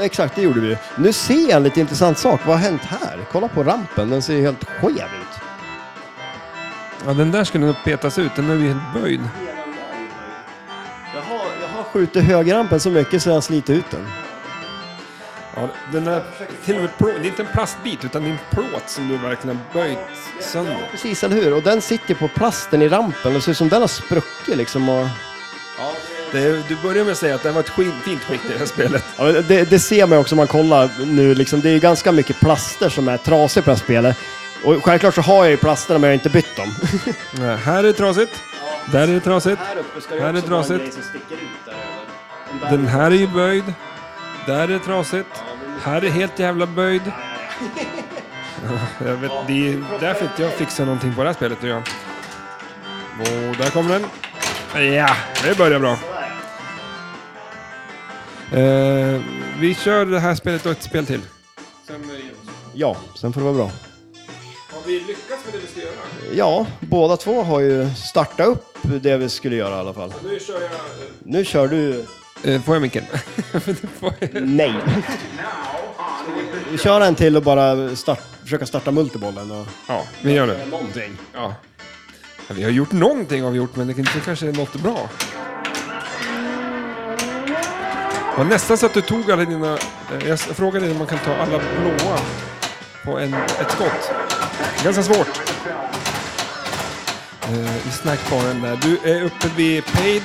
Exakt, det gjorde vi Nu ser jag en lite intressant sak. Vad har hänt här? Kolla på rampen, den ser ju helt skev ut.
Ja, den där skulle nog petas ut, den är ju helt böjd.
skjutit högerrampen så mycket så jag sliter ut den.
Ja, den där, till och med plå, det är inte en plastbit utan det är en plåt som du verkligen har böjt sönder.
Precis, eller hur? Och den sitter på plasten i rampen. Det ser ut som den har spruckit liksom. Och...
Det, är- du började med att säga att det var ett skit, fint skick i det här spelet.
Ja, men det, det ser man ju också om man kollar nu. Liksom, det är ju ganska mycket plaster som är trasiga på det här spelet. Och självklart så har jag ju plasterna men jag har inte bytt dem. [LAUGHS]
Nej, Här är det trasigt. Där är det trasigt.
Här uppe ska
ju Här är också vara en trasigt. grej
som sticker ut där
Den här är ju böjd. Där är det trasigt. Här är helt jävla böjd. Jag vet, det är därför inte jag fixar någonting på det här spelet nu Johan. Och där kommer den. Ja, det börjar bra. Eh, vi kör det här spelet och ett spel till.
Ja, sen får det vara bra.
Har vi lyckats med det vi ska göra?
Ja, båda två har ju startat upp det vi skulle göra i alla fall.
Nu kör jag...
Nu kör du
Eh, får jag micken?
[LAUGHS] nej. Kör en till och bara start, försöka starta multibollen. Och...
Ja, vi gör det.
Någonting.
Ja. Ja, Vi har gjort någonting har vi gjort, men det kanske- kanske är något bra. Det var nästan så att du tog alla dina... eh, Jag s- frågade dig om man kan ta alla blåa på en, ett skott. Ganska svårt. Eh, I snackbaren där. Du är uppe vid paid.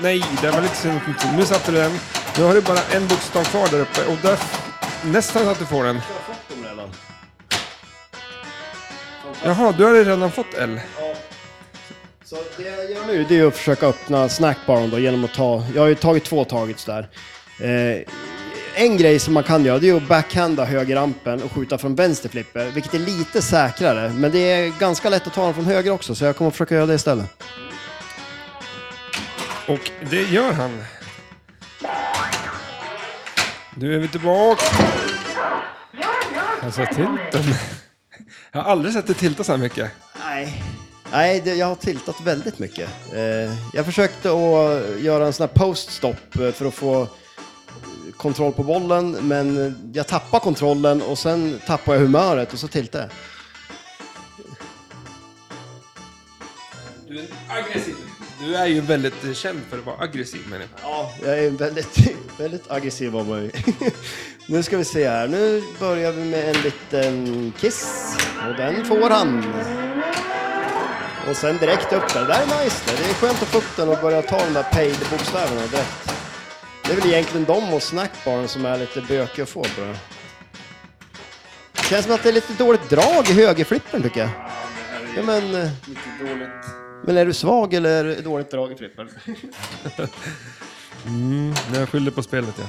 Nej, det var lite synd. Nu satte du den. Nu har du bara en bokstav kvar där uppe och där... Nästan att du får den. Jaha, du har redan fått L.
Så det jag gör nu det är att försöka öppna snackbaren då genom att ta, jag har ju tagit två targets där. Eh, en grej som man kan göra det är att backhanda högerrampen och skjuta från vänsterflipper, vilket är lite säkrare. Men det är ganska lätt att ta den från höger också, så jag kommer att försöka göra det istället.
Och det gör han. Nu är vi tillbaka. Jag sa tilten. Jag har aldrig sett det tilta så här mycket.
Nej. Nej, det, jag har tiltat väldigt mycket. Eh, jag försökte att göra en sån här poststop eh, för att få kontroll på bollen, men jag tappade kontrollen och sen tappade jag humöret och så tiltade jag.
Du är aggressiv. Du är ju väldigt eh, känd för att vara aggressiv människa.
Ja, jag är väldigt, [LAUGHS] väldigt aggressiv av mig. [LAUGHS] nu ska vi se här. Nu börjar vi med en liten kiss. Och den får han. Och sen direkt upp där. Det där är nice. Det Det är skönt att få upp den och börja ta de där paid-bokstäverna direkt. Det är väl egentligen de och snackbaren som är lite bökiga att få tror jag. Det känns som att det är lite dåligt drag i högerflippen tycker jag. Ja, men... eh, Men är du svag eller är det dåligt drag i flippen?
Nej, jag skyller på spelet ja.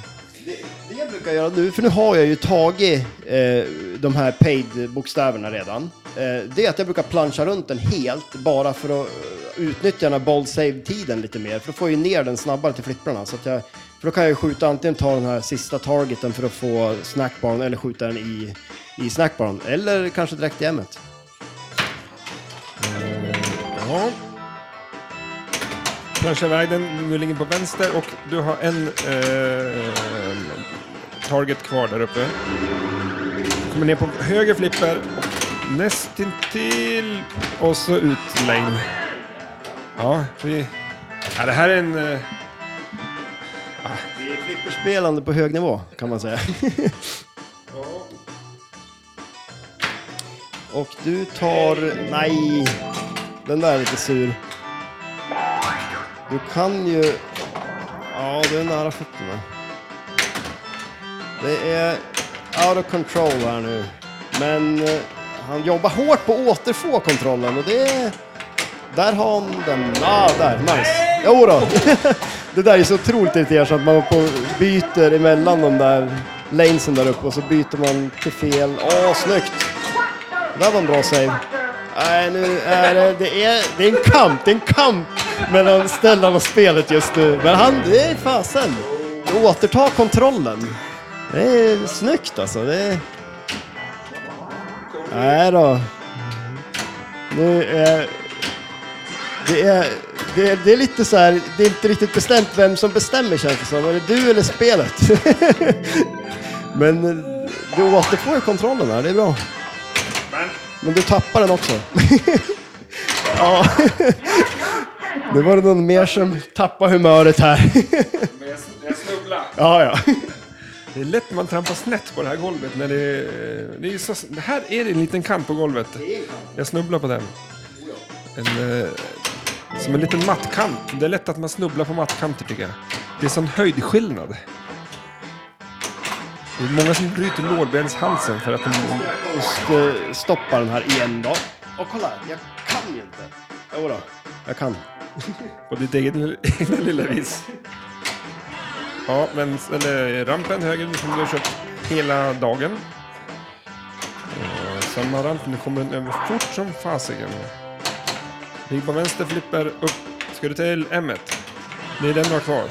Det jag brukar göra nu, för nu har jag ju tagit eh, de här paid-bokstäverna redan. Eh, det är att jag brukar plancha runt den helt bara för att eh, utnyttja den här ball save-tiden lite mer. För då får jag ju ner den snabbare till flipprarna. Så att jag, för då kan jag ju skjuta, antingen ta den här sista targeten för att få snackbarn eller skjuta den i, i snackbarn. Eller kanske direkt i ämnet.
Ja. Plancha iväg den. Nu ligger den på vänster och du har en eh, target kvar där uppe. Kommer ner på höger flipper. och Nästintill. Och så ut längd. Ja, vi... Ja, det här är en... Eh,
Det är flipperspelande på hög nivå kan man säga. Och du tar... Nej! Den där är lite sur. Du kan ju... Ja, du är nära fötterna. Det är out of control här nu. Men eh, han jobbar hårt på att återfå kontrollen och det... är- Där har han den. Ja, där. Nice. Jo då. [LAUGHS] Det där är så otroligt irriterande så att man på byter emellan de där lanesen där uppe och så byter man till fel. Åh, snyggt! Det där var en bra save. Nej, nu är det... Det är, det är en kamp. Det är en kamp mellan Stellan och spelet just nu. Men han... Det är fasen. Återta kontrollen. Det är snyggt alltså. Det är... Nej då. Nu är... Det är, det, är, det är lite så här, det är inte riktigt bestämt vem som bestämmer känns det som. Är det du eller spelet? [LAUGHS] Men eh, du återfår ju kontrollen här, det är bra. Men du tappar den också. [LAUGHS] ja. Nu var det någon mer som tappade humöret här. [LAUGHS] Ja, ja.
Det är lätt man trampar snett på det här golvet. När det, är- det är ju så, här är det en liten kant på golvet. Jag snubblar på den. En, eh, som en liten mattkant. Det är lätt att man snubblar på mattkanter tycker jag. Det är sån höjdskillnad. Det är många som bryter lårbenshalsen för att de...
Jag måste eh, stoppa den här igen då. Och kolla, jag kan ju inte. Jo då, jag kan.
På ditt eget lill- egna lilla [LAUGHS] vis. Ja, men eller rampen höger som du har kört hela dagen. Eh, Samma ramp, nu kommer den över fort som fasiken. Ligg på vänster, flipper upp. Ska du till M1? Det är den du har kvar.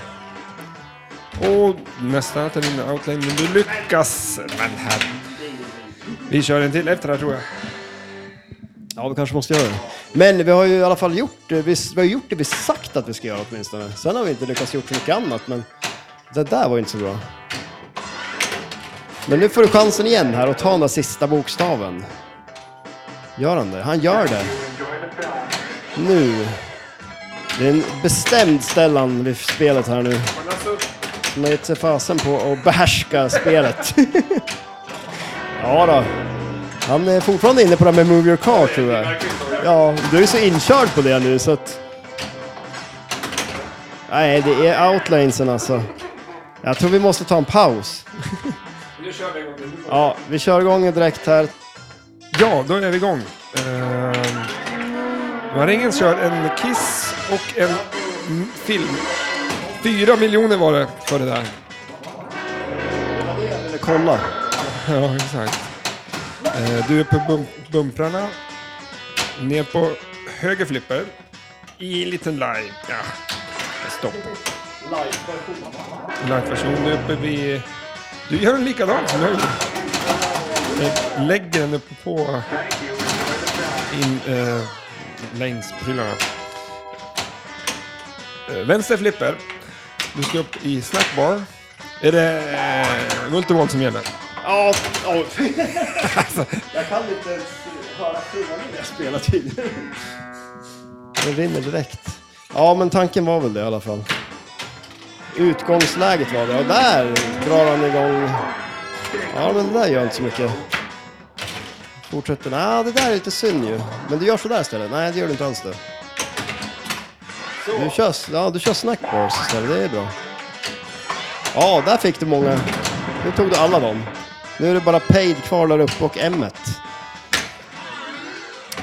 Och nästa till din outline, men du lyckas. Men här. Vi kör en till efter det här tror jag.
Ja, vi kanske måste göra det. Men vi har ju i alla fall gjort det vi, vi har gjort det vi sagt att vi ska göra åtminstone. Sen har vi inte lyckats gjort så mycket annat, men det där var ju inte så bra. Men nu får du chansen igen här och ta den där sista bokstaven. Gör han det? Han gör det. Nu. Det är en bestämd Stellan vid spelet här nu.
alltså,
Som har gett sig fasen på att behärska spelet. [LAUGHS] ja då. Han är fortfarande inne på det här med Move Your Car tror jag. Ja, du är så inkörd på det nu så att... Nej, det är outlanesen alltså. Jag tror vi måste ta en paus.
Nu kör vi en gång till.
Ja, vi kör igång direkt här.
Ja, då är vi igång. Uh, Marängen kör en Kiss och en m- film. Fyra miljoner var det för det där.
Eller kolla.
Ja, exakt. Eh, du är på bum- bumprarna. Ner på höger flipper. I en liten live. Ja, stopp. Live-version. Du är uppe vid... Du gör en likadan som jag gjorde. Eh, Lägger den uppe på... In... Eh, längs prylarna. Eh, vänster flipper. Du ska upp i snackbar. Är det eh, multivolt som gäller? [LAUGHS] Alltså,
Ja, ja. Jag kan inte ens höra frågan när jag spelar tydligen. Den rinner direkt. Ja, men tanken var väl det i alla fall. Utgångsläget var det. Och där drar han igång. Ja, men det där gör inte så mycket. Fortsätter. Nej, det där är lite synd ju. Men du gör sådär istället. Nej, det gör du inte alls det. Du kör, ja, du kör snackbars istället. Det är bra. Ja, där fick du många. Nu tog du alla dem. Nu är det bara Paid kvar där uppe och m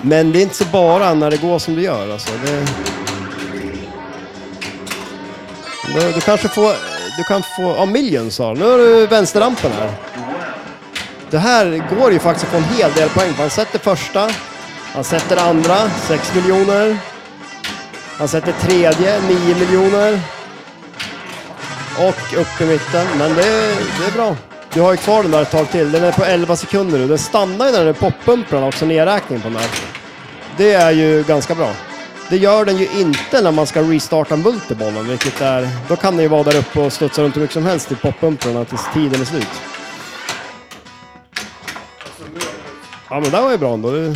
Men det är inte så bara när det går som det gör. Alltså. Det... Du, du kanske får... Du kan få... Ja, Millions har Nu har du vänsterrampen här. Det här går ju faktiskt att få en hel del poäng. för Han sätter första. Han sätter andra, 6 miljoner. Han sätter tredje, 9 miljoner. Och upp i mitten, men det, det är bra. Du har ju kvar den där ett tag till. Den är på 11 sekunder nu. Den stannar ju när den är poppumprarna också, nedräkningen på den här. Det är ju ganska bra. Det gör den ju inte när man ska restarta multibollen, vilket är... Då kan den ju vara där uppe och studsa runt hur mycket som helst till poppumprarna tills tiden är slut. Ja, men det var ju bra ändå. Du...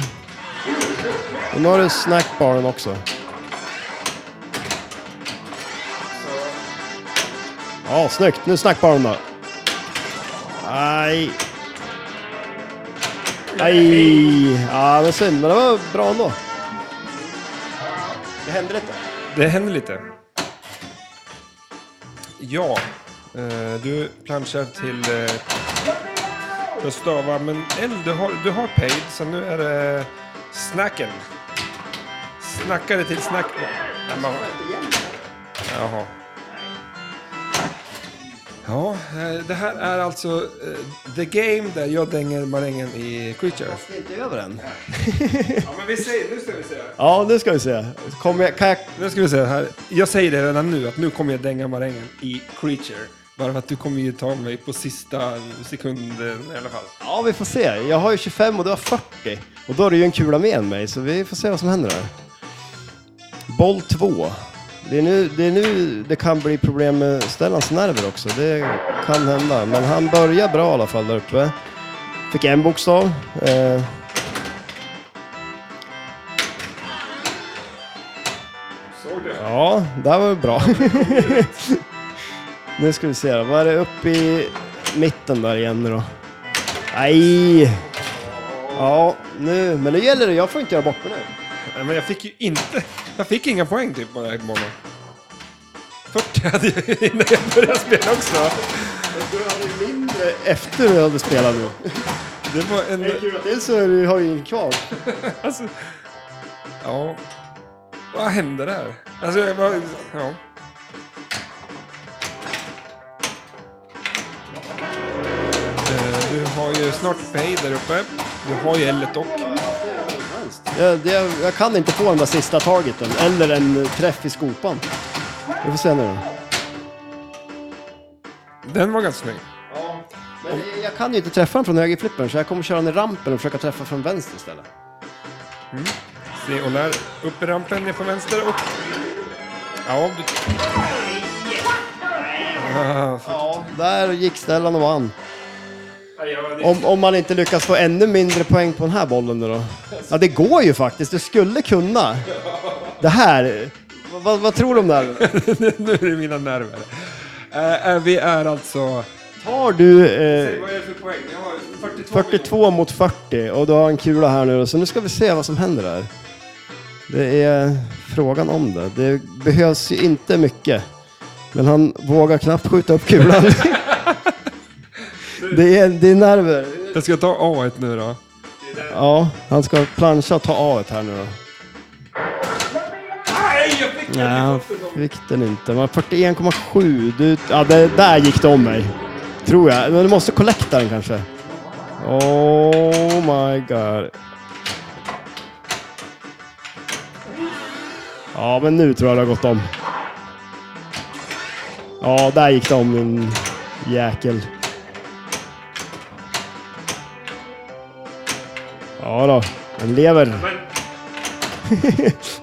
Och nu har du snackbaren också. Ja, snyggt. Nu snackbaren då. Nej. Nej. Ja, men synd. Men det var bra ändå. Det hände lite.
Det händer lite. Ja, eh, du planchar till... eh, Jag stavar, men L, du har, du har paid, så nu är det snacken. Snackare till snack... Nej, man- Jaha. Ja, eh, det här är alltså eh, the game där jag dänger marängen i Creature.
Det är inte över än.
Ja, men vi säger, nu ska vi se.
Ja, nu ska vi se. Kommer jag, kan jag...
Nu ska vi se här. Jag säger det redan nu att nu kommer jag dänga marängen i Creature. Bara för att du kommer ju ta mig på sista sekunden i alla fall.
Ja, vi får se. Jag har ju 25 och du har 40. Och då är det ju en kula mer än mig, så vi får se vad som händer här. Boll 2. Det är, nu, det är nu det kan bli problem med Stellans nerver också. Det kan hända. Men han börjar bra i alla fall där uppe. Fick en bokstav. Eh.
Såg du?
Ja, det här var bra. [LAUGHS] Nu ska vi se då. Vad är det uppe i mitten där igen nu då? Nej! Ja, nu. Men nu gäller det. Jag får inte göra bort mig nu.
Nej, men jag fick ju inte... Jag fick inga poäng typ på den här banan. 40 hade [LAUGHS] jag innan jag började spela också.
Du hade mindre efter du hade spelat nu.
Det var en...
Dels så du, har du ju kvar.
Alltså, ja. Vad hände där? Alltså, jag var... Ja. Eh, Du har ju snart pay där uppe. Du har ju L dock.
Jag, det, jag kan inte få den där sista targeten. Eller en träff i skopan. Vi får se nu då.
Den var ganska snygg.
Men jag kan ju inte träffa den från högerflippen så jag kommer köra den i rampen och försöka träffa från vänster istället.
Se och lär. Upp i rampen, ner på vänster och... Ja, du... Ah, fan. [LAUGHS]
Ja, där gick Stellan och vann.
Ja,
Om, om man inte lyckas få ännu mindre poäng på den här bollen nu då. Ja, det går ju faktiskt. Du skulle kunna. Det här. Vad, vad, vad tror du om det här?
det- nu är det mina nerver. Eh, eh, vi är alltså...
Tar du eh,
Vad är det för poäng? Jag har 42.
42 mot 40 och du har en kula här nu då. så nu ska vi se vad som händer där. Det är frågan om det. Det behövs ju inte mycket. Men han vågar knappt skjuta upp kulan. det, är, det är nerver.
Jag ska ta A1 nu då.
Ja, han ska plancha och ta A här nu då.
Nej, jag fick
Nej, han fick den inte. Men 41,7. Du, ja, det, där gick det om mig. Tror jag. Men du måste collecta den kanske. Oh my god. Ja, men nu tror jag det har gått om. Ja, där gick det om min jäkel. Ja då, den lever.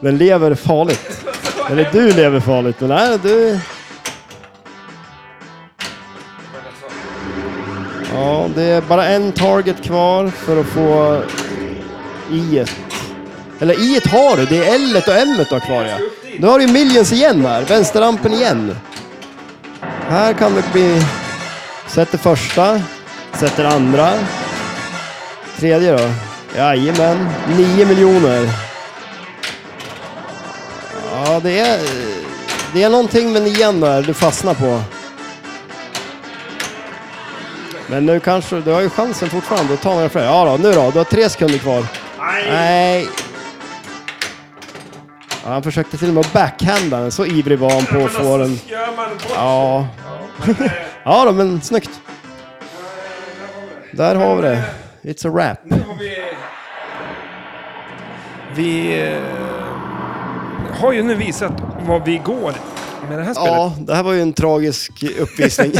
Den lever farligt. Eller du lever farligt, men nej, du... Ja, det är bara en target kvar för att få i et Eller i et har du, det är l och m du har kvar ja. Nu har du ju millions igen här, vänsterrampen igen. Här kan det bli... Sätter första, sätter andra. Tredje då? Jajamän, 9 miljoner. Ja, det är, det är någonting med nian där du fastnar på. Men nu kanske, du har ju chansen fortfarande att ta några fler. Ja då, nu då, du har tre sekunder kvar. Nej! Ja, han försökte till och med backhanda den, så ivrig var han på att få den.
Gör man bort
Ja. ja då, men snyggt. Där har vi det. It's a wrap.
har vi... Vi eh, har ju nu visat vad vi går med det här spelet. Ja,
Ja, det här var ju en tragisk
[LAUGHS]
uppvisning.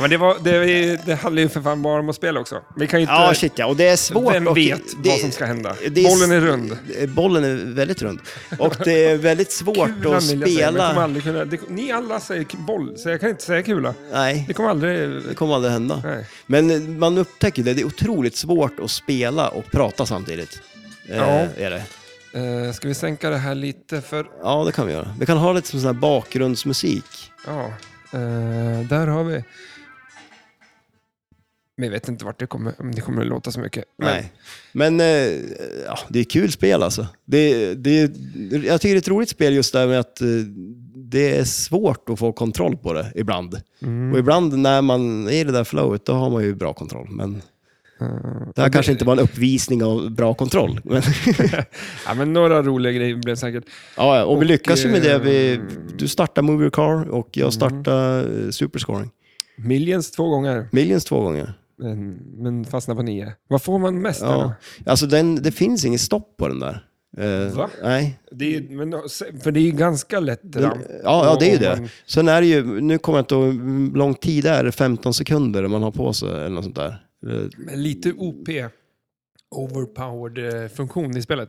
men det, var, det, det handlar ju för fan bara om att spela också. Vi kan ju inte...
ja, shit ja. Och det är svårt.
Vem
och
vet
det-
vad som ska hända?
det är-
Bollen är rund.
Bollen är väldigt rund. Och det är väldigt svårt
Kulan
att
vill jag säga, men jag kommer
spela.
aldrig kunna, det, ni alla säger k- boll, så jag kan inte säga kula.
Nej,
Det kommer aldrig...
det kommer aldrig hända.
Nej.
Men man upptäcker det, det är otroligt svårt att spela och prata samtidigt. Eh,
Ja.
Är det.
Eh, ska vi sänka det här lite för...
ja, det kan vi göra. Vi kan ha lite som sån här bakgrundsmusik.
Ja, eh, där har vi... Men jag vet inte vart det kommer, om det kommer att låta så mycket. Men-
Nej. Men eh, ja, det är kul spel alltså. Det, det, jag tycker det är ett roligt spel just där med att eh, det är svårt att få kontroll på det ibland. Och ibland när man är i det där flowet, då har man ju bra kontroll. Men det här kanske inte var en uppvisning av bra kontroll. Men,
Ja, men några roliga grejer blev säkert.
ja, ja, och vi lyckas ju med det.
eh, Mm.
Vi, du startar Move Your Car och jag startar eh, Superscoring.
Millions två gånger,
Millions två gånger.
men, men fastnar på nio. Vad får man mest? där
Ja.
då?
Alltså den, det finns inget stopp på den där. Eh,
Va?
Nej,
Det är, men, för det är ju ganska lätt ramp.
Ja, ja, det är ju
Om
det.
man-
Sen är det ju, nu kommer jag inte ihåg hur lång tid det är, 15 sekunder man har på sig eller något sånt där. Eh,
Men lite OP, overpowered eh, funktion i spelet.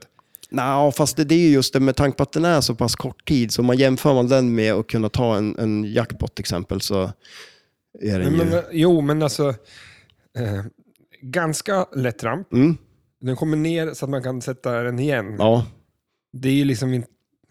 Nja, fast det, det är ju just det med tanke på att den är så pass kort tid, så om man jämför man den med att kunna ta en, en jackpot till exempel så är den
Men,
ju...
men, jo, men alltså, eh, ganska lätt ramp.
Mm,
Den kommer ner så att man kan sätta den igen.
ja,
Det är ju liksom inte...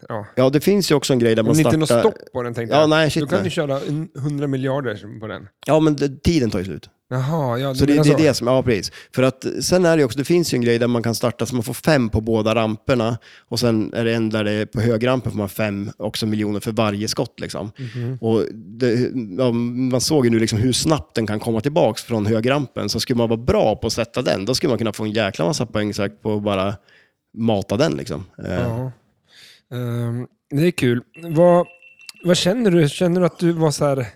Ja.
Ja, det finns ju också en grej där man
Om det inte är
startar...
något stopp på den tänkte
Ja,
jag.
nej,
Då
shit,
kan
nej.
du köra en- 100 miljarder på den.
Ja, men det, tiden tar ju slut.
Jaha, ja, alltså- du
Så det,
menar
det är det som, ja precis. För att eh, sen är det ju också, det finns ju en grej där man kan starta så man får fem på båda ramperna och sen är det en där det är på högrampen får man fem också miljoner för varje skott liksom.
Mhm.
Och det, ja, man såg ju nu liksom hur snabbt den kan komma tillbaks från högrampen så skulle man vara bra på att sätta den, då skulle man kunna få en jäkla massa poäng säkert på att bara mata den liksom. Eh,
Ja. Ehm, det är kul. Vad, vad känner du? Känner du att du var så här,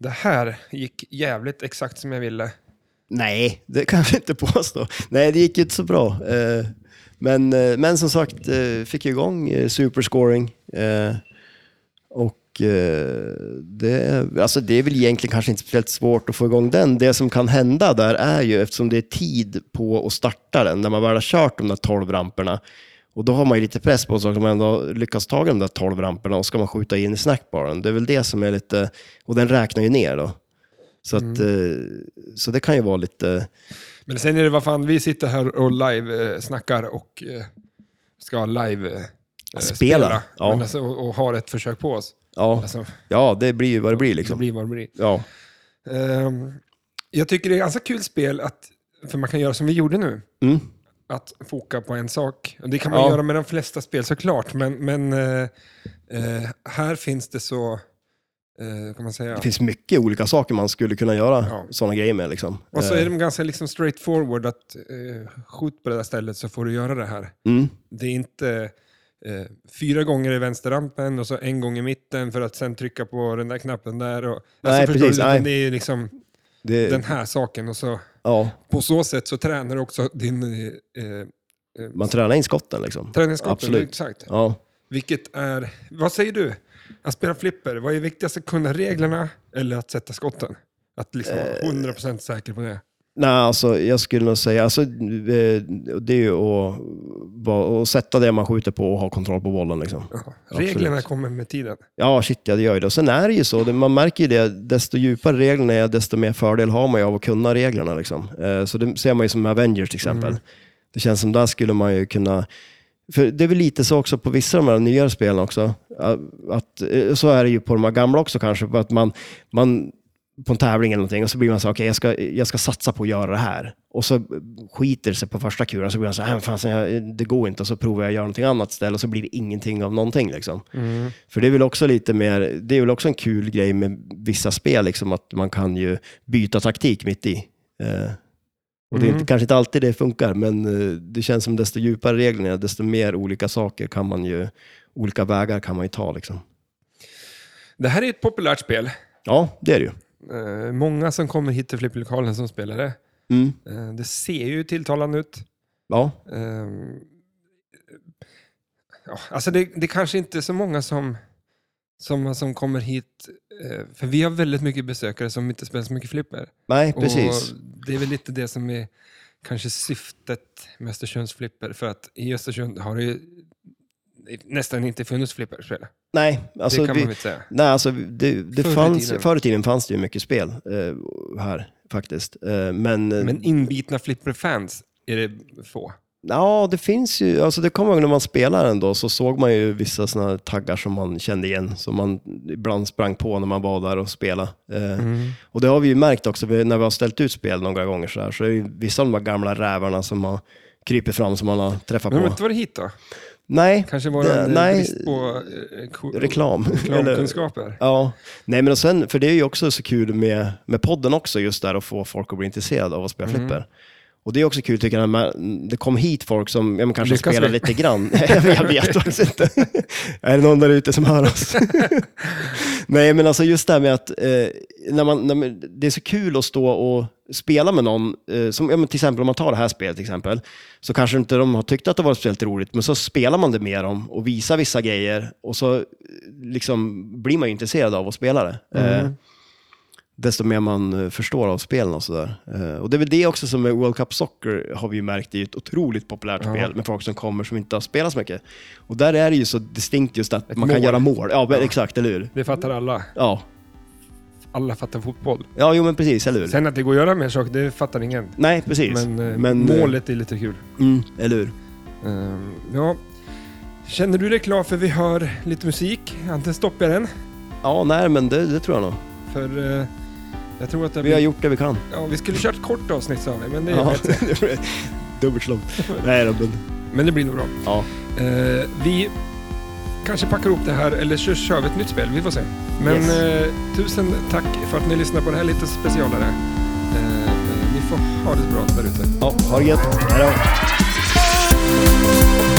det här gick jävligt exakt som jag ville?
Nej, det kan vi inte påstå. Nej, det gick ju inte så bra. Eh, Men, eh, men som sagt, eh, fick jag igång eh, superscoring. Eh, Och eh, det, är- alltså det är väl egentligen kanske inte speciellt svårt att få igång den. Det som kan hända där är ju, eftersom det är tid på att starta den, när man väl har kört de där 12 ramperna, och då har man ju lite press på sig att man ändå lyckas ta de där 12 ramperna och ska man skjuta in i snackbaren. Det är väl det som är lite, och den räknar ju ner då. Så, att,
Mm.
eh, så det kan ju vara lite...
Men sen är det vad fan, vi sitter här och live-snackar och eh, ska live-spela.
Spela, ja.
alltså, och, och har ett försök på oss.
Ja,
Alltså,
ja det blir ju vad det blir
det
liksom.
blir vad det blir.
Ja,
Ehm, jag tycker det är ganska kul spel, att, för man kan göra som vi gjorde nu.
mm.
att foka på en sak. Det kan man
Ja.
göra med de flesta spel såklart, men, men eh, eh, här finns det så, eh, kan man säga.
det finns mycket olika saker man skulle kunna göra
Ja.
sådana grejer med. Liksom.
Och så
Eh,
är de ganska liksom straight forward att eh, skjut på det där stället så får du göra det här.
mm.
Det är inte eh, fyra gånger i vänsterrampen och så en gång i mitten för att sen trycka på den där knappen där. Och, Alltså,
Nej,
förstår du?
precis,
Utan
nej.
Det är liksom
det,
den här saken och så
ja,
på så sätt så tränar du också din eh, eh,
man tränar in skotten liksom.
träningskroppen.
Absolut.
Exakt.
Ja.
Vilket är, vad säger du? Att spela flipper, vad är viktigast att kunna reglerna eller att sätta skotten? Att liksom vara
Eh.
100% säker på det.
Nej, alltså jag skulle nog säga, alltså, eh, det är ju att, vara- att sätta det man skjuter på och ha kontroll på bollen. Liksom.
Ja.
absolut.
Reglerna kommer med tiden.
Ja, shit ja, det gör ju det. Och sen är det ju så, det- man märker ju det, desto djupare reglerna är, desto mer fördel har man ju av att kunna reglerna. Liksom. Eh, Så det ser man ju som Avengers till exempel. Det känns som där skulle man ju kunna, för det är väl lite så också på vissa av de här nyare spelen också, eh, att, eh, så är det ju på de här gamla också kanske, för att man, man på en tävling eller någonting och så blir man så okej jag, ska, jag ska satsa på att göra det här. Och så skiter det sig på första kulan så blir man så här, "Äh, fan, så jag, det går inte och så provar jag att göra någonting annat istället och så blir det ingenting av någonting. Liksom. För det är väl också lite mer, det är väl också en kul grej med vissa spel, liksom, att man kan ju byta taktik mitt i. Eh, och det är inte, kanske inte alltid det funkar, men eh, det känns som desto djupare reglerna är, desto mer olika saker kan man ju, olika vägar kan man ju ta. Liksom.
Det här är ett populärt spel.
Ja, det är det ju.
Eh, många som kommer hit till flipperlokalen som spelar det.
Mm.
Eh, det ser ju tilltalande ut.
Ja,
Eh, ja, alltså det, det kanske inte är så många som, som, som kommer hit, eh, för vi har väldigt mycket besökare som inte spelar så mycket flipper.
nej
Och
precis.
Det är väl lite det som är kanske syftet med Östersunds flipper. För att i Östersund har det ju nästan inte funnits flipperspel.
Nej, alltså
det kan
vi,
man väl inte säga.
Nej, alltså det, det
Förr i
fanns,
tiden.
förr i tiden fanns det ju mycket spel eh, här faktiskt. Eh, men,
Men inbitna flipperfans är det få.
ja, det finns ju, alltså det kommer jag ihåg när man spelade ändå så såg man ju vissa sådana här taggar som man kände igen, som man ibland sprang på när man var där och spelade. Eh,
Mm.
Och det har vi ju märkt också vi- när vi har ställt ut spel några gånger så här, så är det ju vissa av de här gamla rävarna som har krypit fram som man har träffat
Men de har
på.
inte varit hit då?
Nej,
Kanske var
det-
det en
nej.
brist på eh, ko-
reklam. Eller-
reklamkunskaper?
Ja, nej men och sen, för det är ju också så kul med, med podden också, just där att få folk att bli intresserade av att spela flipper. Och det är också kul tycker jag, när man- det kom hit folk som ja, men kanske
Lyckas
spelar
vi?
lite grann. [LAUGHS] jag vet- jag vet faktiskt
[LAUGHS]
inte. är det någon där ute som hör oss? [LAUGHS] nej, men alltså just det här med att eh, när man, när man, det är så kul att stå och spela med någon, eh, som, ja, men till exempel om man tar det här spelet till exempel, så kanske inte de har tyckt att det var speciellt roligt, men så spelar man det med dem och visar vissa grejer och så eh, liksom blir man ju intresserad av att spela det.
Mm.
Eh, desto mer man eh, förstår av spelen och sådär. Eh, Och det är väl det också som med World Cup Soccer har vi ju märkt, det är ju ett otroligt populärt spel med folk som kommer som inte har spelat så mycket. Och där är det ju så distinkt just att
Ett
man kan
mål.
göra mål. Ja, men exakt, eller hur?
Det fattar alla.
Ja.
Alla fattar fotboll.
ja, jo men precis, eller hur?
Sen att det går att göra mer saker, det fattar ingen.
Nej, precis.
Men, eh,
Men, eh,
målet är lite kul.
Mm, eller hur?
Ehm, ja. Känner du dig klar för vi hör lite musik? Antingen stoppar jag den,
Ja, nej men det, det tror jag nog.
för eh, jag tror att det
Vi har gjort det vi kan.
Ja, vi skulle kört kort avsnitt sa vi, men det,
Ja. [LAUGHS] Dubbelt slump. Nej då, men...
men det blir nog bra.
Ja.
Eh, vi kanske packar ihop det här eller så kör vi ett nytt spel, vi får se. Men
Yes.
eh, tusen tack för att ni lyssnar på det här lite specialare. Eh, eh, ni får ha det så bra där ute.
Ja,
Ha det gött. Hej då.
Thank